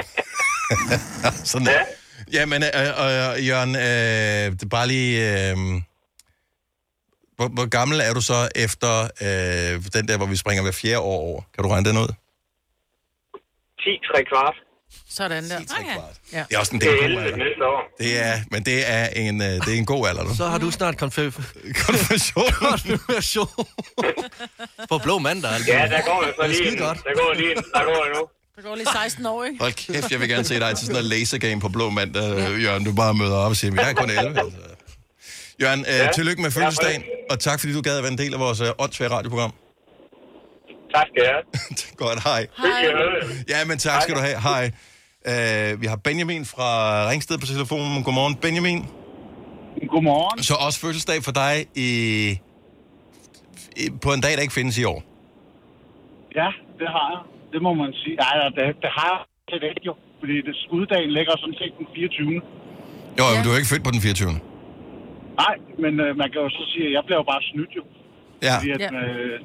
A: Sådan der. Ja, men øh, øh, øh, Jørgen, øh, det er bare lige... Øh, hvor, hvor gammel er du så efter øh, den der, hvor vi springer hver fjerde år over? Kan du regne den ud?
N: 10 tre kvart.
B: Sådan der.
A: Okay.
B: Ja.
A: Det er også en
N: Det
A: del
N: er
A: god
N: 11
A: alder.
N: næste år.
A: Det er, men det er en, øh, det er en god alder, du.
D: Så har du snart konfirm...
A: konfirmation.
D: konfirmation. På blå mandag, altså.
N: Ja, der går jo
D: Det
N: så
D: er
N: lige en,
D: skide godt.
N: der går lige en, der går endnu.
B: Der går lige 16 år, ikke?
A: Hold kæft, jeg vil gerne se dig til sådan noget lasergame på blå mandag, ja. Jørgen. Du bare møder op og siger, jeg er kun 11. Altså. Jørgen, ja. øh, tillykke med
N: Ja, for
A: fødselsdagen, og tak fordi du gad at være en del af vores øh, åndssvage radioprogram.
N: Tak skal jeg have.
A: Godt, hej. Ja, men tak skal du have. Hej. Øh, vi har Benjamin fra Ringsted på telefonen. Godmorgen, Benjamin.
O: Godmorgen.
A: Så også fødselsdag for dig i, i, på en dag, der ikke findes i år.
O: Ja, det har jeg. Det må man sige. Nej, det, det har jeg slet ikke jo. Fordi det, uddagen ligger sådan set den 24.
A: Jo, ja. du er ikke født på den 24.
O: Nej, men øh, man kan jo så sige, at jeg bliver jo bare snydt jo.
A: Ja.
O: Fordi at,
A: Ja.
O: øh,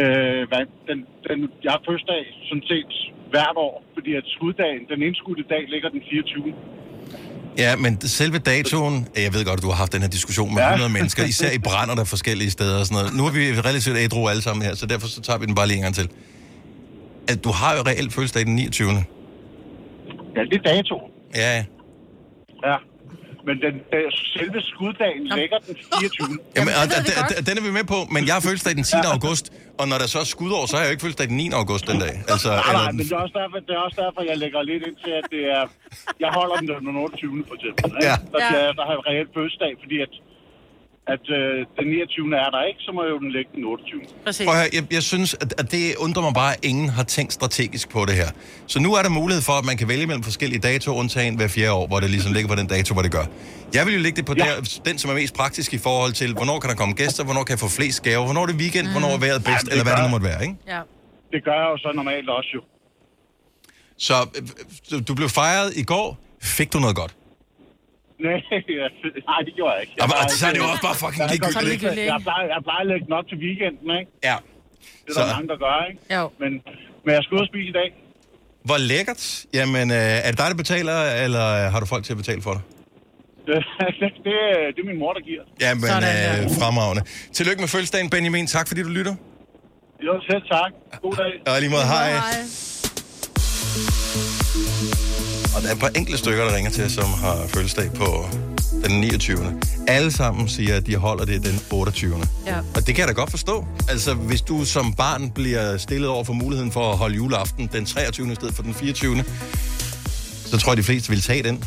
O: øh, hvad, den, den, jeg har fødselsdag sådan set hvert år, fordi at skuddagen, den indskudte dag, ligger den 24.
A: Ja, men selve datoen, jeg ved godt, at du har haft den her diskussion med
O: Ja.
A: 100 mennesker, især i brænder der forskellige steder og sådan noget. Nu er vi relativt ædru alle sammen her, så derfor så tager vi den bare lige en gang til. At du har jo reelt fødselsdag den 29.
O: Ja, det er dato.
A: Ja,
O: Ja. Men den, øh, selve skuddagen ligger den 24.
A: Jamen, og, d- d- d- den er vi med på, men jeg har fødselsdag den 10. august, og når der så er skudår, så har jeg jo ikke fødselsdag den 9. august den dag. Altså,
O: Nej,
A: eller
O: nej, men
A: den,
O: det er, også derfor, det er også derfor, jeg lægger lidt ind til, at det er... Jeg holder den den 28. for eksempel. ikke?
A: Ja.
O: Der, skal, jeg- der har jeg reelt fødselsdag, fordi at, at øh, den 29. er der ikke, så må jeg jo den lægge den 28.
A: prøv at høre, jeg, jeg synes, at, at det undrer mig bare, at ingen har tænkt strategisk på det her. Så nu er der mulighed for, at man kan vælge mellem forskellige datoer, undtagen hver fjerde år, hvor det ligesom ligger på den dato, hvor det gør. Jeg vil jo lægge det på ja. der, den, som er mest praktisk i forhold til, hvornår kan der komme gæster, hvornår kan jeg få flest gaver, hvornår er det weekend, mm. hvornår er vejret bedst,
O: Jamen, det
A: eller hvad det nu
O: gør-
A: måtte være, ikke?
B: Ja.
O: Det gør jeg jo så normalt også jo.
A: Så øh, du- du blev fejret i går. Fik du noget godt?
O: Nej, jeg- nej, det gjorde jeg ikke. Jeg
A: Jamen,
O: plejer
A: og så er det jo
O: ikke-
A: også bare fucking
O: Jeg-
A: ligegyldigt, ikke?
O: Jeg plejer, jeg plejer at lægge den op til weekenden, ikke?
A: Ja.
O: Det er der
A: Så-
O: mange, der gør, ikke? Jo. Men, men jeg skal ud og spise i dag.
A: Hvor lækkert. Jamen, øh, er det dig, der betaler, eller har du folk til at betale for dig?
O: Det, det, er- det er min mor, der giver.
A: Jamen, øh, fremragende. Tillykke med fødselsdagen, Benjamin. Tak, fordi du lytter.
O: Jo, selv tak. God dag.
A: Og lige måde, hej. Og der er et par enkelte stykker, der ringer til os, som har fødselsdag på den 29. Alle sammen siger, at de holder det den 28.
P: Ja.
A: Og det kan jeg da godt forstå. Altså, hvis du som barn bliver stillet over for muligheden for at holde juleaften den 23. i stedet for den 24. Så tror jeg, de fleste vil tage den.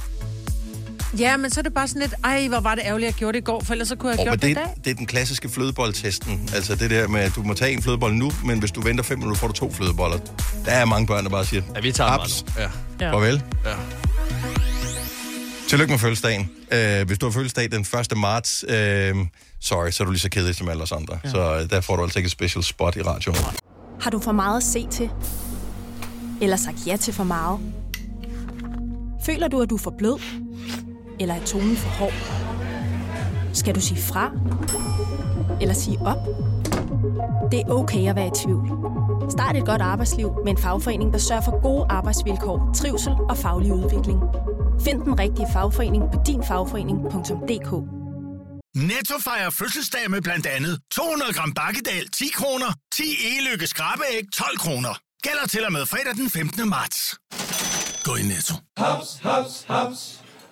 B: Ja, men så er det bare sådan lidt, ej, hvor var det ærgerligt, jeg gjorde det i går, for ellers så kunne jeg have
A: men
B: gjort det i
A: det,
B: dag.
A: det er den klassiske flødeboldtesten. Altså det der med, at du må tage en flødebold nu, men hvis du venter fem minutter, får du to flødeboller. Der er mange børn, der bare siger, ja, vi tager Abs.
D: Ja.
A: Ja. Farvel.
D: Ja.
A: Tillykke med fødselsdagen. Øh, hvis du har fødselsdag den 1. marts, øh, sorry, så er du lige så kedelig som alle os andre. Ja. Så øh, der får du altså ikke et special spot i radioen.
I: Har du for meget at se til? Eller sagt ja til for meget? Føler du, at du er for blød? Eller er tonen for hård? Skal du sige fra? Eller sige op? Det er okay at være i tvivl. Start et godt arbejdsliv med en fagforening, der sørger for gode arbejdsvilkår, trivsel og faglig udvikling. Find den rigtige fagforening på dinfagforening.dk
Q: Netto fejrer fødselsdag med blandt andet 200 gram bakkedal 10 kroner, 10 e-lykke skrabeæg 12 kroner. Gælder til og med fredag den 15. marts.
R: Gå i Netto. Haps, haps, haps.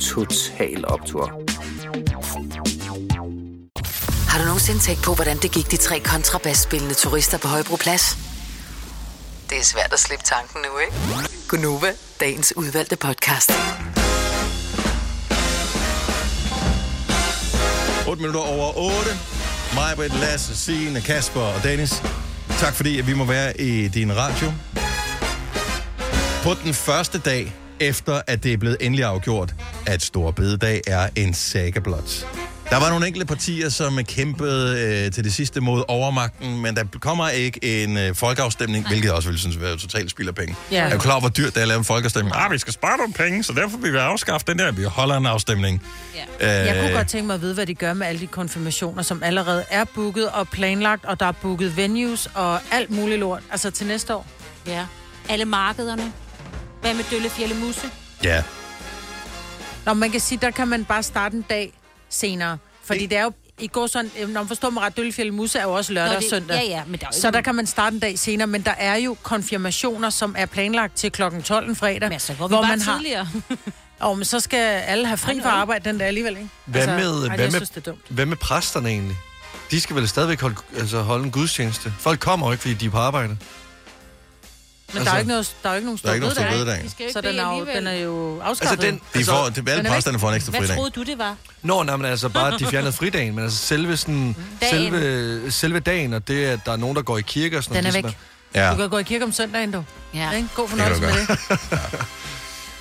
S: Total Optor.
E: Har du nogensinde tænkt på, hvordan det gik de tre kontrabasspillende turister på Højbroplads? Det er svært at slippe tanken nu, ikke? Gunova, dagens udvalgte podcast.
A: 8 minutter over 8. Mig, Britt, Lasse, Signe, Kasper og Dennis. Tak fordi at vi må være i din radio. På den første dag, efter at det er blevet endelig afgjort, at Store Bededag er en saga blot. Der var nogle enkelte partier, som kæmpede øh, til det sidste mod overmagten, men der kommer ikke en øh, folkeafstemning, hvilket jeg også ville synes være totalt spild af penge.
P: Ja.
A: Er du klar over, hvor dyrt det er at lave en folkeafstemning? Ah, vi skal spare nogle penge, så derfor vil vi afskaffe den der. Vi holder en afstemning. Øh, Ja.
B: Jeg kunne godt tænke mig at vide, hvad de gør med alle de konfirmationer, som allerede er booket og planlagt, og der er booket venues og alt muligt lort, altså til næste år.
C: Ja. Alle markederne. Hvad med Døllefjælde Musse?
A: Ja.
B: Nå, man kan sige, der kan man bare starte en dag senere. Fordi det, det er jo i går sådan, øh, når man forstår mig ret, Døllefjeld Musse er jo også lørdag
C: Nå,
B: og
C: det- ja,
B: søndag.
C: ja, men der er jo
B: så
C: ikke-
B: der kan man starte en dag senere, men der er jo konfirmationer, som er planlagt til klokken 12 en fredag. Men så
C: altså, Hvor, vi var man tidligere.
B: har, og men så skal alle have fri fra arbejde den dag alligevel, ikke? Altså,
D: Hvad med,
B: ej,
D: hvad,
B: jeg
D: med,
B: synes, det er dumt.
D: hvad med præsterne egentlig? De skal vel stadigvæk holde, altså holde en gudstjeneste. Folk kommer jo ikke, fordi de er på arbejde.
B: Men der
D: Altså,
B: er jo ikke, noget, der er jo ikke nogen
D: der er
B: store
D: ikke nogen store
B: bededag.
D: bededag. De
B: Så den er, jo, den er jo afskaffet.
D: Altså, den- De altså- får- de- alle
B: Den er væk.
D: præsterne får en ekstra fridag.
B: du, det var?
D: Nå, nej, men altså bare, at de fjernede fridagen, men altså selve, sådan,
B: Dagen.
D: selve, selve dagen, og det, at der er nogen, der går i kirke og sådan
B: Den er
D: noget,
B: væk.
D: det
A: Ja.
B: Du kan gå i kirke om søndagen, du. Ja. Ikke? God
A: Det kan
B: fornøjelse
A: du
B: med det.
A: gøre.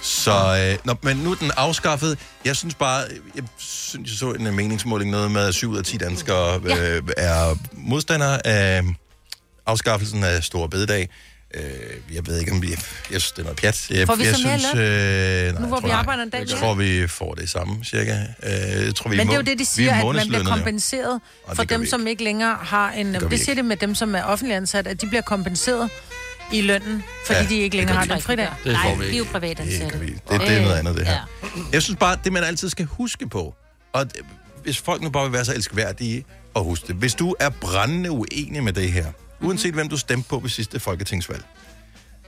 A: Så, øh, nå, men nu er den afskaffet. Jeg synes bare, øh, jeg synes, jeg så en øh, meningsmåling, noget med, at 7 ud af 10 danskere øh, er modstandere af afskaffelsen af Store Bededag. Øh, jeg ved ikke, om vi... Jeg synes, det er noget pjat. Jeg,
B: Får vi
A: jeg
B: så mere løn?
A: øh, nej,
B: Nu hvor
A: jeg tror,
B: vi arbejder en dag
A: Jeg
B: mere?
A: tror, vi får det samme, cirka. Øh, jeg tror, vi
B: Men det
A: må-
B: er jo det,
A: vi
B: de siger, at man
A: månedslønnede,
B: bliver
A: jo.
B: kompenseret
A: Og
B: for
A: det gør vi
B: dem, som ikke længere har en...
A: Det
B: Det,
A: gør vi
B: det siger det med dem, som er offentlig ansat, at de bliver kompenseret i lønnen, fordi
A: Ja,
B: ja, de ikke længere har den fridag.
A: Det får vi
C: vi er jo
A: ikke.
C: privatansatte.
A: Det, det er noget andet, det her. Jeg synes bare, det man altid skal huske på, og d- hvis folk nu bare vil være så elskværdige og huske det, hvis du er brændende uenig med det her,
C: Mhm.
A: uanset hvem du stemte på ved sidste folketingsvalg,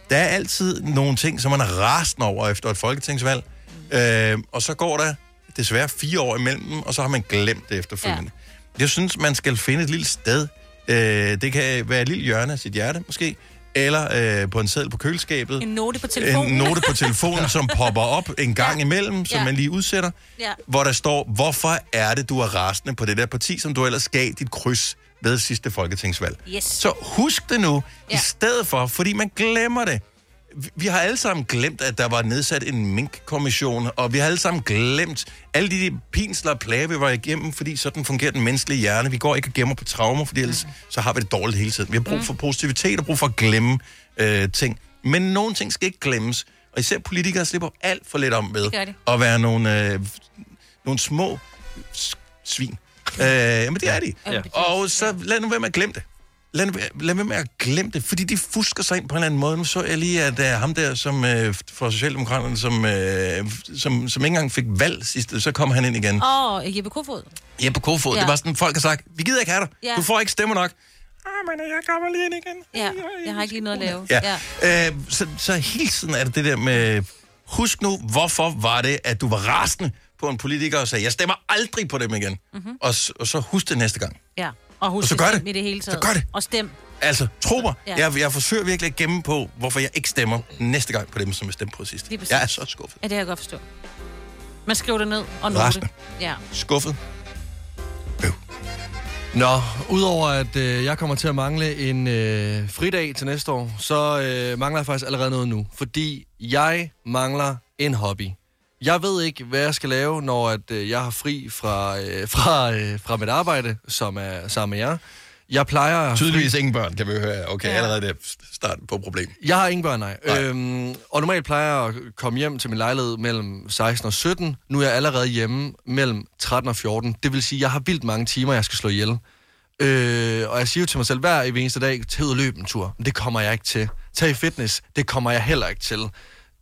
A: der er altid nogle ting, som man er rasende over efter et folketingsvalg, øh, og så går der desværre fire år imellem dem, og så har man glemt det efterfølgende. Ja. Jeg synes, man skal finde et lille sted. Øh, det kan være et lille hjørne af sit hjerte, måske, eller øh, på en seddel på køleskabet.
C: En note på telefonen.
A: En note på telefonen, som popper op en gang ja. imellem, som
C: Ja.
A: ja. man lige udsætter,
C: Ja.
A: hvor der står, hvorfor er det, du er rasende på det der parti, som du ellers gav dit kryds ved sidste folketingsvalg.
C: Yes.
A: Så husk det nu, ja. i stedet for, fordi man glemmer det. Vi- Vi har alle sammen glemt, at der var nedsat en minkkommission, og vi har alle sammen glemt alle de pinsler og plager, vi var igennem, fordi sådan fungerer den menneskelige hjerne. Vi går ikke og gemmer på traumer, fordi ellers så har vi det dårligt hele tiden. Vi har brug for positivitet og brug for at glemme øh, ting. Men nogle ting skal ikke glemmes, og især politikere slipper alt for lidt om ved
C: Det gør de.
A: at være nogle, øh, nogle små s- svin. Øh, jamen, det er de.
C: Ja.
A: Og så lad nu være med at glemme det. Lad, nu være- lad være med at glemme det, fordi de fusker sig ind på en eller anden måde. Nu så jeg lige, at uh, ham der som, uh, fra Socialdemokraterne, som, uh, som, som ikke engang fik valg sidste, så kom han ind igen. Oh.
C: Åh, oh, Jeppe Kofod.
A: Jeppe Kofod, ja.
C: Ja.
A: det var sådan, folk har sagt, vi gider ikke have dig,
C: Ja.
A: du får ikke stemmer nok.
C: Ah,
A: men jeg kommer lige ind igen.
C: Ja, jeg har ikke lige noget at lave.
A: Ja. Ja. Øh, så, så hele tiden er det det der med, husk nu, hvorfor var det, at du var rasende på en politiker og sagde, jeg stemmer aldrig på dem igen. Mm-hmm. Og, s- og så husk det næste gang.
C: Mhm. ja. Og husk
A: Og så gør
C: stem
A: det.
C: i det hele taget.
A: gør det.
C: Og stem.
A: Altså, tro mig,
C: Ja.
A: ja. jeg, jeg forsøger virkelig at gemme på, hvorfor jeg ikke stemmer næste gang på dem, som jeg stemte på sidst.
C: Lige præcis.
A: Jeg er så skuffet.
C: Ja, det kan jeg godt forstå. Man skriver det ned og note
A: Rasende.
C: det. Ja.
A: Skuffet.
D: Nå, udover at øh, jeg kommer til at mangle en øh, fridag til næste år, så øh, mangler jeg faktisk allerede noget nu, fordi jeg mangler en hobby. Jeg ved ikke, hvad jeg skal lave, når at, øh, jeg har fri fra, øh, fra, øh, fra mit arbejde, som er sammen med jer. Jeg plejer... at have fri-
A: Tydeligvis ingen børn, kan vi høre. Okay,
D: Ja.
A: ja. allerede der starten på problem.
D: Jeg har ingen børn, nej. nej. Øhm, og normalt plejer jeg at komme hjem til min lejlighed mellem 16 og 17. Nu er jeg allerede hjemme mellem 13 og 14. Det vil sige, at jeg har vildt mange timer, jeg skal slå ihjel. Øh, og jeg siger jo til mig selv hver evig eneste dag, tag ud og løb en tur. Men det kommer jeg ikke til. Tag i fitness. Det kommer jeg heller ikke til.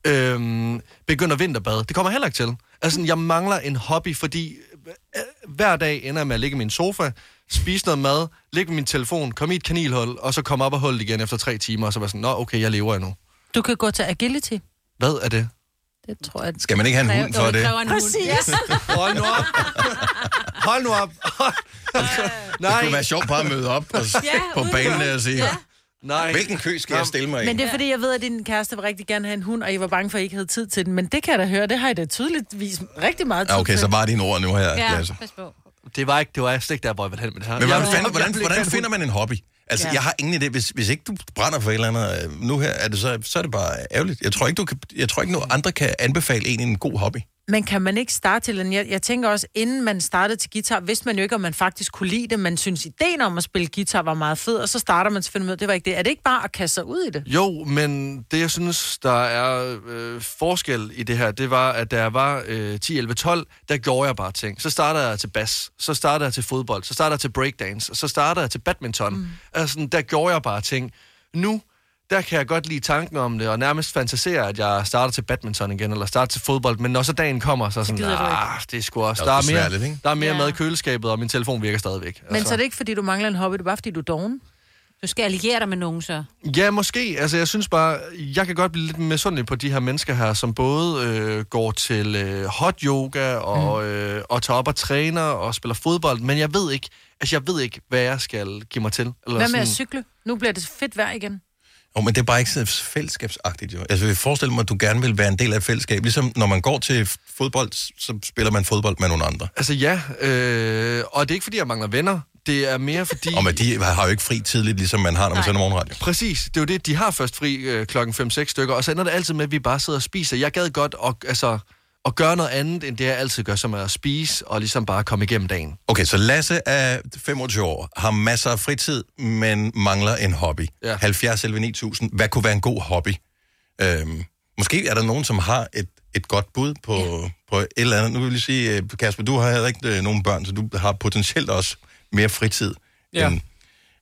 D: Øhm, begynder vinterbad. Det kommer jeg heller ikke til. Altså, sådan, jeg mangler en hobby, fordi øh, hver dag ender jeg med at ligge i min sofa, spise noget mad, ligge med min telefon, komme i et kanilhul, og så komme op og holde igen efter tre timer, og så være sådan, nå, okay, jeg lever endnu.
B: Du kan gå til agility.
D: Hvad er det?
B: Det tror jeg.
A: Skal man ikke have en hund for det?
B: Præcis.
D: Hold nu op. Hold nu op. Nej.
A: Det kunne være sjovt bare at møde op og, s-
B: Ja,
A: på
B: uden
A: banen
B: hund.
A: og sige,
B: Ja.
D: Nej.
A: hvilken kø skal jeg stille mig i?
B: Men det er fordi, jeg ved, at din kæreste vil rigtig gerne have en hund, og I var bange for, at I ikke havde tid til den. Men det kan jeg da høre, det har I da tydeligvis rigtig meget tid
A: Ja, okay,
B: til.
A: så bare dine ord nu her.
B: Ja,
A: Lasse.
C: pas på.
D: Det var ikke, det var slet ikke der, hvor jeg ville hen med det her.
A: Men hvordan,
D: Jeg-
A: fanden,
D: jeg
A: hvordan,
D: blev
A: hvordan
D: kaldt
A: finder man en hobby? Altså,
D: Ja.
A: ja. jeg har ingen idé. Hvis, hvis ikke du brænder for et eller andet øh, nu her, er det så, så er det bare ærgerligt. Jeg tror ikke, du kan, jeg tror ikke, nogen andre kan anbefale en en god hobby.
B: Men kan man ikke starte til den? Jeg, jeg tænker også, inden man startede til guitar, vidste man jo ikke, om man faktisk kunne lide det. Man synes, ideen om at spille guitar var meget fed, og så starter man til at finde ud af, det var ikke det. Er det ikke bare at kaste sig ud i det?
D: Jo, men det, jeg synes, der er øh, forskel i det her, det var, at da jeg var øh, 10, 11, 12, der gjorde jeg bare ting. Så startede jeg til bas, så startede jeg til fodbold, så startede jeg til breakdance, så startede jeg til badminton. Mm. Altså, der gjorde jeg bare ting. Nu, der kan jeg godt lide tanken om det, og nærmest fantasere, at jeg starter til badminton igen, eller starter til fodbold, men når så dagen kommer, så er sådan,
B: gider du ikke.
D: ah, det er sgu også,
A: Det er
D: der
A: også
D: er mere,
A: besværligt, ikke?
D: der er mere
B: Ja.
D: mad i køleskabet, og min telefon virker stadigvæk. Altså,
B: Men så er det ikke, fordi du mangler en hobby, det er bare, fordi du er doven.
C: Du skal alliere dig med nogen, så.
D: Ja, måske. Altså, jeg synes bare, jeg kan godt blive lidt misundelig på de her mennesker her, som både øh, går til øh, hot yoga
A: Mm.
D: og, øh, og tager op og træner og spiller fodbold, men jeg ved ikke, altså, jeg ved ikke, hvad jeg skal give mig til. Eller
B: Hvad med at cykle? Nu bliver det fedt vejr igen.
A: Jo, men det er bare ikke så fællesskabsagtigt, jo. Altså, jeg forestiller mig, at du gerne vil være en del af et fællesskab. Ligesom når man går til f- fodbold, så spiller man fodbold med nogle andre.
D: Altså, ja. Øh, og det er ikke, fordi jeg mangler venner. Det er mere fordi...
A: Og men de har jo ikke fri tidligt, ligesom man har, når man sender morgenradio.
D: Præcis, det er jo det, de har først fri øh, klokken 5-6 stykker, og så ender det altid med, at vi bare sidder og spiser. Jeg gad godt at, altså, at gøre noget andet, end det jeg altid gør, som er at spise og ligesom bare komme igennem dagen.
A: Okay, så Lasse er 25 år, har masser af fritid, men mangler en hobby. Ja. 70 11 9000. Hvad kunne være en god hobby? Øhm, måske er der nogen, som har et, et godt bud på, ja. på et eller andet. Nu vil jeg lige sige, øh, Kasper, du har heller ikke øh, nogen børn, så du har potentielt også mere fritid, ja. end,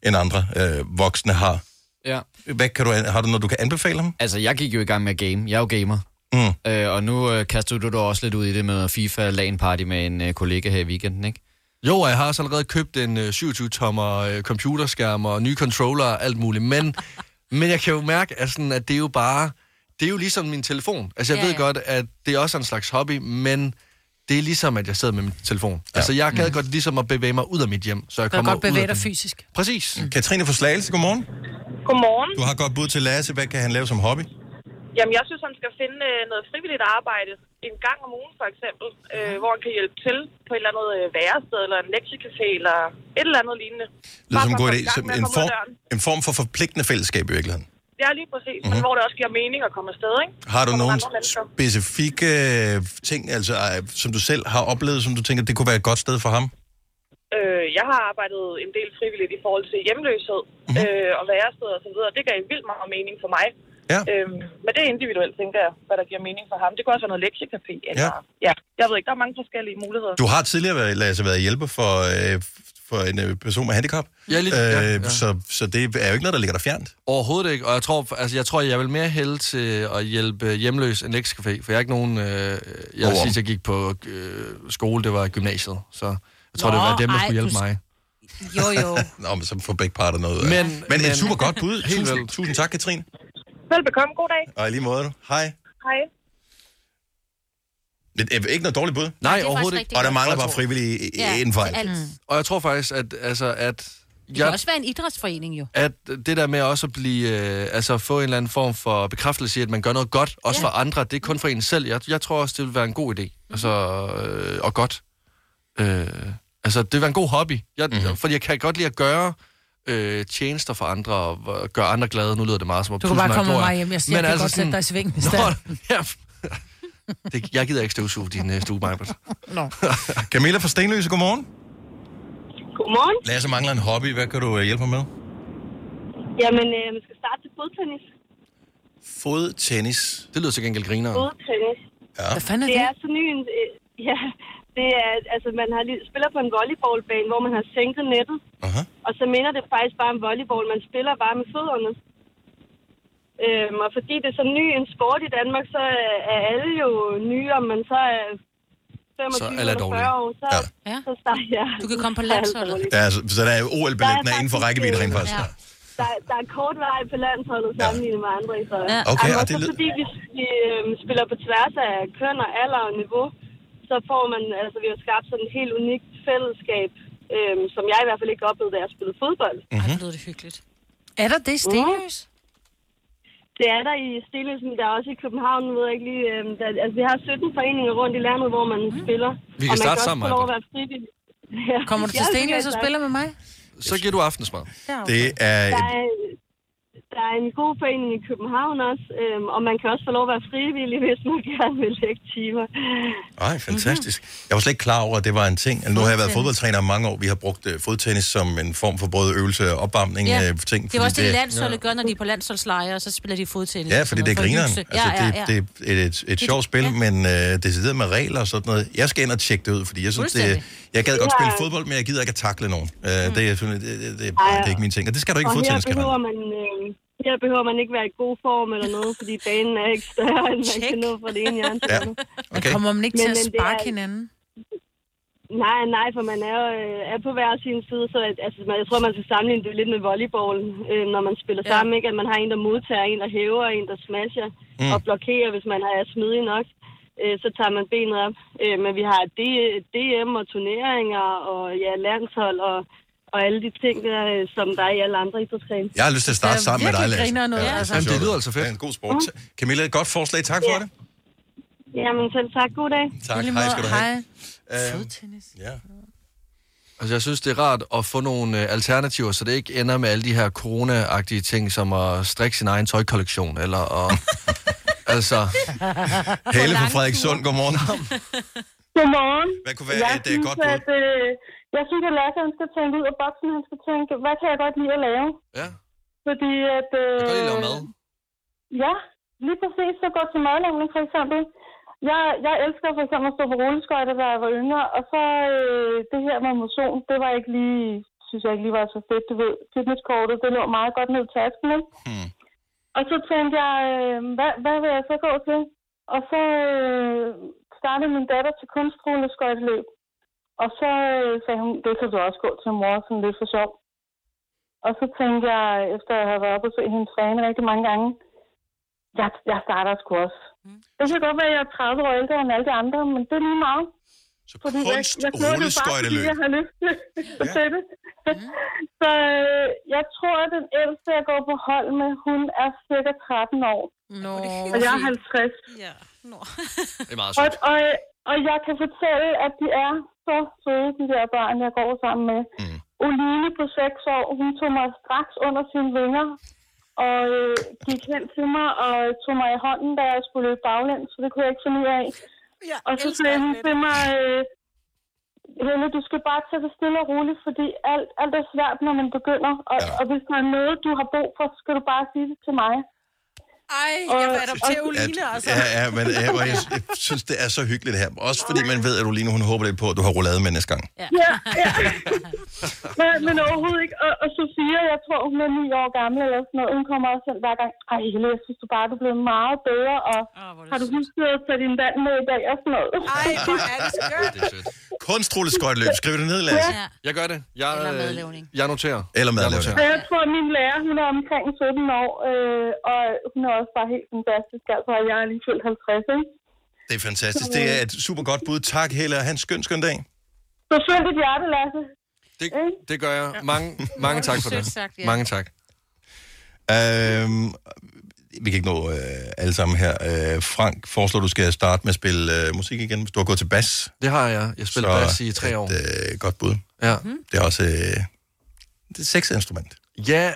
A: end andre øh, voksne har.
M: Ja.
A: Hvad kan du, an- Øh, har du noget, du kan anbefale dem?
M: Altså, jeg gik jo i gang med at game. Jeg er jo gamer. Mm. Øh, og nu øh, kaster du dig også lidt ud i det med FIFA LAN Party med en øh, kollega her i weekenden, ikke?
D: Jo, og jeg har også allerede købt en øh, 27-tommer øh, computerskærm og nye controller og alt muligt, men, men jeg kan jo mærke, at, sådan, at det er jo bare, det er jo ligesom min telefon. Altså, jeg
M: Ja,
D: ja, ved
M: ja.
D: ja. godt, at det er også en slags hobby, men det er ligesom, at jeg sidder med min telefon. Ja. Altså, jeg gad mm. godt ligesom at bevæge mig ud af mit hjem, så jeg
B: Du kan
D: kommer
B: godt bevæge
D: ud af
B: dig
D: den.
B: fysisk.
D: Præcis.
A: Mm. Katrine fra Slagelse, godmorgen.
G: Godmorgen.
A: Du har et godt bud til Lasse. Hvad kan han lave som hobby?
G: Jamen, jeg synes, han skal finde øh, noget frivilligt arbejde en gang
A: Mhm.
G: om ugen, for eksempel, øh, hvor han kan hjælpe til på et eller andet øh, værested, eller en lektiecafé, eller et eller andet lignende.
A: Lyder
G: Bare
A: som en
G: for at
A: god
G: komme
A: idé.
G: i gang
A: Som
G: med at
A: en,
G: komme ud af
A: form,
G: døren.
A: en form for forpligtende fællesskab i virkeligheden.
G: Ja, lige præcis. Mm-hmm. Men
A: Mhm.
G: hvor det også giver mening at komme afsted, ikke?
A: Har du
G: Hvor der
A: nogle
G: er nogle mennesker.
A: specifikke øh, ting, altså, øh, som du selv har oplevet, som du tænker, det kunne være et godt sted for ham?
G: Øh, jeg har arbejdet en del frivilligt i forhold til hjemløshed
A: Mhm.
G: mm-hmm. øh, og væresteder og så videre. Det gav vildt meget mening for mig.
A: Ja.
G: Øhm, men det er individuelt, tænker jeg, hvad der giver mening for ham. Det kunne også være noget lektiecafé. Eller, ja. ja. Jeg ved ikke, der er mange forskellige muligheder.
A: Du har tidligere været, altså, været hjælper for, øh, for en øh, person med handicap. Øh,
D: Ja, lige- ja, ja.
A: Så, så det er jo ikke noget, der ligger dig fjernt.
D: Overhovedet ikke, og jeg tror, altså, jeg tror, jeg vil mere hælde til at hjælpe hjemløs end lektiecafé, for jeg er ikke nogen... Øh, jeg
A: Overom.
D: sidst, jeg gik på øh, skole, det var i gymnasiet, så jeg tror, Nå, det
A: Nå,
D: var dem, der
A: ej,
D: skulle hjælpe
A: du
D: mig.
A: Jo, jo. Nå, men så får begge parter noget.
D: Men-
A: Men, men, men
D: men-
A: et super godt bud.
D: Helt
A: Tusind,
D: vildt.
A: tusind tak, Katrine.
G: Velbekomme. God dag.
A: Og i lige måde, du. Hej.
G: Hej.
A: Men, øh, ikke noget dårligt bud.
D: Nej, det er overhovedet faktisk ikke. rigtig
A: Og der
D: godt.
A: mangler
D: Jeg
A: bare
D: tror-
A: frivillige
C: Ja,
A: ja, indenfor.
C: til alt. Mm.
D: Og jeg tror faktisk, at, altså, at
C: Det kan
D: jeg,
C: også være en idrætsforening, jo.
D: at det der med også at blive, øh, altså at få en eller anden form for bekræftelse i, at man gør noget godt, også
C: Ja.
D: ja. for andre, det er kun for en selv. Jeg, jeg tror også, det vil være en god idé,
P: Mhm.
D: altså, øh, og godt. Øh, altså, det vil være en god hobby, jeg, mm-hmm. fordi jeg kan godt lide at gøre øh, tjenester for andre, og hvor- gøre andre glade. Nu lyder det meget som at
P: Du kan
D: pusse
P: bare
D: mig i
P: komme med
D: glorie.
P: mig hjem. Jeg siger, jeg kan godt sætte dig i svingen i stedet.
D: altså Nå, ja, det, jeg gider ikke støvsuge din øh, stue, Majbert.
P: Nå.
A: Camilla fra Stenløse, godmorgen.
T: Godmorgen.
A: Lasse mangler en hobby. Hvad kan du øh, hjælpe ham med?
T: Jamen, øh, man skal starte til fodtennis.
A: Fodtennis.
D: Det lyder til gengæld griner.
T: Fodtennis.
A: Ja.
T: Hvad fanden er det? Det er sådan en... Øh, ja, det er... Altså, man har, lige- spiller på en volleyballbane, hvor man har sænket nettet.
A: Aha.
T: Og så minder det faktisk bare om volleyball. Man spiller bare med fødderne. Øhm, og fordi det er så ny en sport i Danmark, så er, er alle jo nye, om man så er 25
A: Så alle er
T: eller
A: dårlige.
T: 40 år, så, ja. så starter jeg. Du kan komme på landsholdet.
A: Ja, så, så der er OL-billetten
T: Der
A: er
T: er
A: inden for rækkevidde rent faktisk. Ja.
T: Der, der er kort vej på landsholdet sammenlignet med andre i Frederik.
A: Ja. Okay,
T: Jamen,
A: og
T: også
A: det lyd-
T: fordi vi, vi øhm, spiller på tværs af køn og alder og niveau, så får man, altså vi har skabt sådan et helt unikt fællesskab, øhm, som jeg i hvert fald ikke oplevede, da jeg spillede fodbold.
A: Mhm.
C: Mm-hmm. Ej, det hyggeligt. Uh.
T: Er der det i Stenløs? Det er der i Stenløs, men der er også i København, nu ved jeg ikke lige. Øhm, der, altså, vi har 17 foreninger rundt i landet, hvor
A: Mhm.
T: man mm. spiller.
D: Vi kan
T: og
D: starte
T: man kan også
D: sammen,
T: få lov at være frivillig. Ja.
D: Kommer du til
T: Ja, det kan
D: Stenløse
T: jeg
D: og
T: sagtens.
D: spiller med
T: mig?
D: Så giver du aftensmad.
A: Det er
T: Der
A: et
T: er, der er en god forening i København også, øhm, og man kan også få lov at være frivillig, hvis man gerne vil lægge timer.
A: Ej, fantastisk. Jeg var slet ikke klar over, at det var en ting. Altså, nu har jeg været fodboldtræner i mange år. Vi har brugt øh, fodtennis som en form for både øvelse og opvarmning.
C: Ja.
A: Øh, ting,
C: det er
A: fordi
C: også det, landsholdet gør, når de er på landsholdslejre, og så spiller de fodtennis.
A: Ja,
C: og
A: fordi
C: sådan
A: det er
C: noget, for at
A: grineren.
C: hygge sig.
A: Altså, det, det er et, et, et sjovt spil, men øh, det er sidder med regler og sådan noget. Jeg skal ind og tjekke det ud, fordi jeg synes, det,
T: Fuldstændig. Mm.
A: jeg gad godt
T: Ja.
A: spille fodbold, men jeg gider ikke at takle nogen. Øh, det, er, sådan- det, det, det, det, er ikke min ting, og det skal du ikke
T: og
A: få
T: her
A: tennis, kan
T: behøver man, øh, her behøver man ikke være i god form eller noget, fordi banen er ikke større, end man kan nå fra det ene hjørne til det
A: Ja.
T: andet.
A: Okay.
T: Kommer
P: man ikke til at sparke
T: hinanden? Nej, nej, for man er, jo, øh, er på hver sin side, så at, altså, man, jeg tror, man skal sammenligne det lidt med volleyballen, øh, når man spiller ja. sammen, ikke? At man har en, der modtager, en, der hæver, en, der smasher
U: Mm.
T: mm. og blokerer, hvis man er smidig nok. Øh, så tager man benet op. Øh, men vi har D- DM og turneringer og ja, landshold og, og alle de ting, der, øh, som der er i alle andre idrætsgrene.
A: Jeg har lyst til at starte
T: Det er
A: sammen med dig,
T: virkelig
A: Lasse.
T: grineren ud, altså.
A: ser
T: Jamen, det
A: sjovt
T: lyder
A: ud.
D: altså
A: Det er en god sport. Camilla, et godt forslag. Tak for det.
T: Jamen selv tak. God dag.
A: Tak. Hej skal du have. Øhm,
T: Fodtennis.
A: Ja.
D: Altså, jeg synes, det er rart at få nogle øh, alternativer, så det ikke ender med alle de her corona-agtige ting, som at strikke sin egen tøjkollektion, eller at... altså...
A: Helle fra Frederikssund, godmorgen.
U: Godmorgen.
A: Hvad kunne være
U: jeg
A: et, øh,
U: synes,
A: godt bud?
U: At, øh, jeg synes, at Lasse han skal tænke ud af boksen. Han skal tænke, hvad kan jeg godt lide at lave?
D: Ja.
U: Fordi at... Øh, jeg kan godt lide at lave mad. Ja, lige præcis. Så godt til madlavning, for eksempel. Jeg, jeg elsker for eksempel at stå på rulleskøjter, da jeg var yngre. Og så øh, det her med motion, det var ikke lige synes jeg ikke lige var så fedt. Du ved, fitnesskortet, det lå meget godt ned i tasken, ikke?
A: Hmm.
U: Og så tænkte jeg, øh, hvad, hvad vil jeg så gå til? Og så øh, startede min datter til kunstrulleskøjteløb. Og så øh, sagde hun, det kan du også gå til mor, sådan lidt for sjov. Og så tænkte jeg, efter jeg havde været oppe og se hende træne rigtig mange gange, jeg, jeg starter sgu også. Mm. Det kan godt være, at jeg er 30 år ældre end alle de andre, men det er lige meget.
A: Så
U: fordi
A: kunstrulleskøjteløb.
U: jeg har lyst til til det. Så øh, jeg tror, at den ældste, jeg går på hold med, hun er cirka 13 år.
P: Nå.
U: Og jeg er 50.
C: Ja. Nå.
D: Det er meget
U: Og, og, og jeg kan fortælle, at de er så søde, de der børn, jeg går sammen med. Mm. Oline på 6 år, hun tog mig straks under sine vinger og øh, gik hen til mig og øh, tog mig i hånden, da jeg skulle løbe baglæns, så det kunne jeg ikke finde ud af.
B: Jeg
U: og så sagde hun til mig, øh, Helle, du skal bare tage det stille og roligt, fordi alt, alt er svært, når man begynder. Og, ja. og hvis der er noget, du har brug for, så skal du bare sige det til mig.
B: Ej, jeg vil adoptere Oline, altså.
A: Ja, ja, men ja, og jeg, jeg synes, det er så hyggeligt her. Også fordi man ved, at Oline, hun håber lidt på, at du har roulade med næste gang.
U: Ja, ja. ja. men, men overhovedet ikke. Og, og Sofia, jeg tror, hun er 9 år gammel eller sådan noget. Hun kommer også selv hver gang. Ej, Helle, jeg synes du bare, du er blevet meget bedre. Og har du husket at tage din vand med i dag og sådan noget? Ej,
B: hvor er det skørt.
A: Kunstrulleskøjtløb, skriv det ned, Lasse.
U: Ja.
D: Jeg gør det. Jeg, Eller medlavning. Jeg noterer.
A: Eller
D: medlavning.
U: Og jeg tror, at min lærer, hun er omkring 17 år, øh, og hun er også bare helt fantastisk. Altså, og jeg er lige fyldt 50, ikke?
A: Det er fantastisk. Det er et super godt bud. Tak, Helle, og have en skøn, skøn dag.
U: Så følg dit hjerte, Lasse.
D: Det, det gør jeg. Mange, mange tak for
U: Sødt
D: det.
U: sagt, ja.
D: Mange tak.
A: Øhm, vi kan ikke nå øh, alle sammen her. Øh, Frank foreslår, du skal starte med at spille øh, musik igen, hvis du har gået til bas.
D: Det har jeg. Jeg spillede bas i tre år.
A: Et, øh, godt bud.
D: Ja.
A: Det er også øh, det er seks instrument.
D: Ja,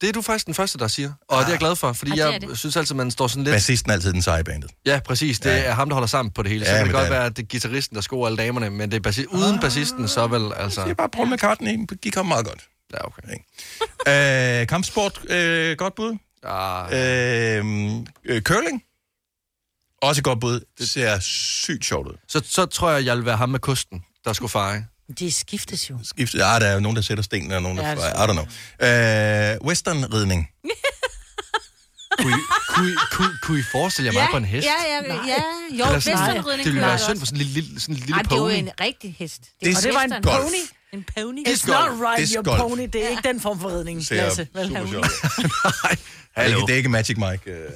D: det er du faktisk den første, der siger. Og det er jeg glad for, fordi
A: Ja, det er
D: jeg
A: det.
D: synes altid, man står sådan lidt...
A: Bassisten er altid den seje i bandet.
D: Ja, præcis. Det
A: Ja.
D: er ham, der holder sammen på det hele. Så
A: Ja,
D: ja, kan
A: men
D: det godt
A: det er
D: være, at det er gitarristen, der scorer alle damerne, men det er bassi- uden bassisten, så vel altså...
A: Det er bare Paul McCartney. Det gik ham meget godt.
D: Ja, okay.
A: Ikke? øh, kampsport, øh, godt bud.
D: Ah.
A: Øh, øh, curling. Også et godt bud. Det ser sygt sjovt ud.
D: Så, så tror jeg, jeg vil være ham med kosten, der skulle feje.
B: De skiftes jo.
A: Skiftet. Ja, der er jo nogen, der sætter sten, og nogen, der...
D: Ja,
A: Ja,
D: det
A: I don't know. Øh, westernridning.
D: Kunne I, kunne, I, kunne, kunne I forestille jer mig på en hest?
C: Ja, ja, ja. ja. Jo,
D: Eller sådan-
C: westernridning
D: Det ville være
C: kunne
D: synd for sådan en lille, lille, sådan en lille
C: Ej, det er jo
D: pony.
C: en rigtig hest.
D: Det er
C: og det var en
D: golf.
C: pony. En pony.
D: Det er
B: It's not
D: golf.
B: right,
A: Det er
B: your
A: golf.
B: pony. Det er ikke den form for redning,
A: Ser
B: Lasse. Vel,
A: super
B: han-
A: sjovt. Nej, det er ikke- det er ikke Magic Mike. øh.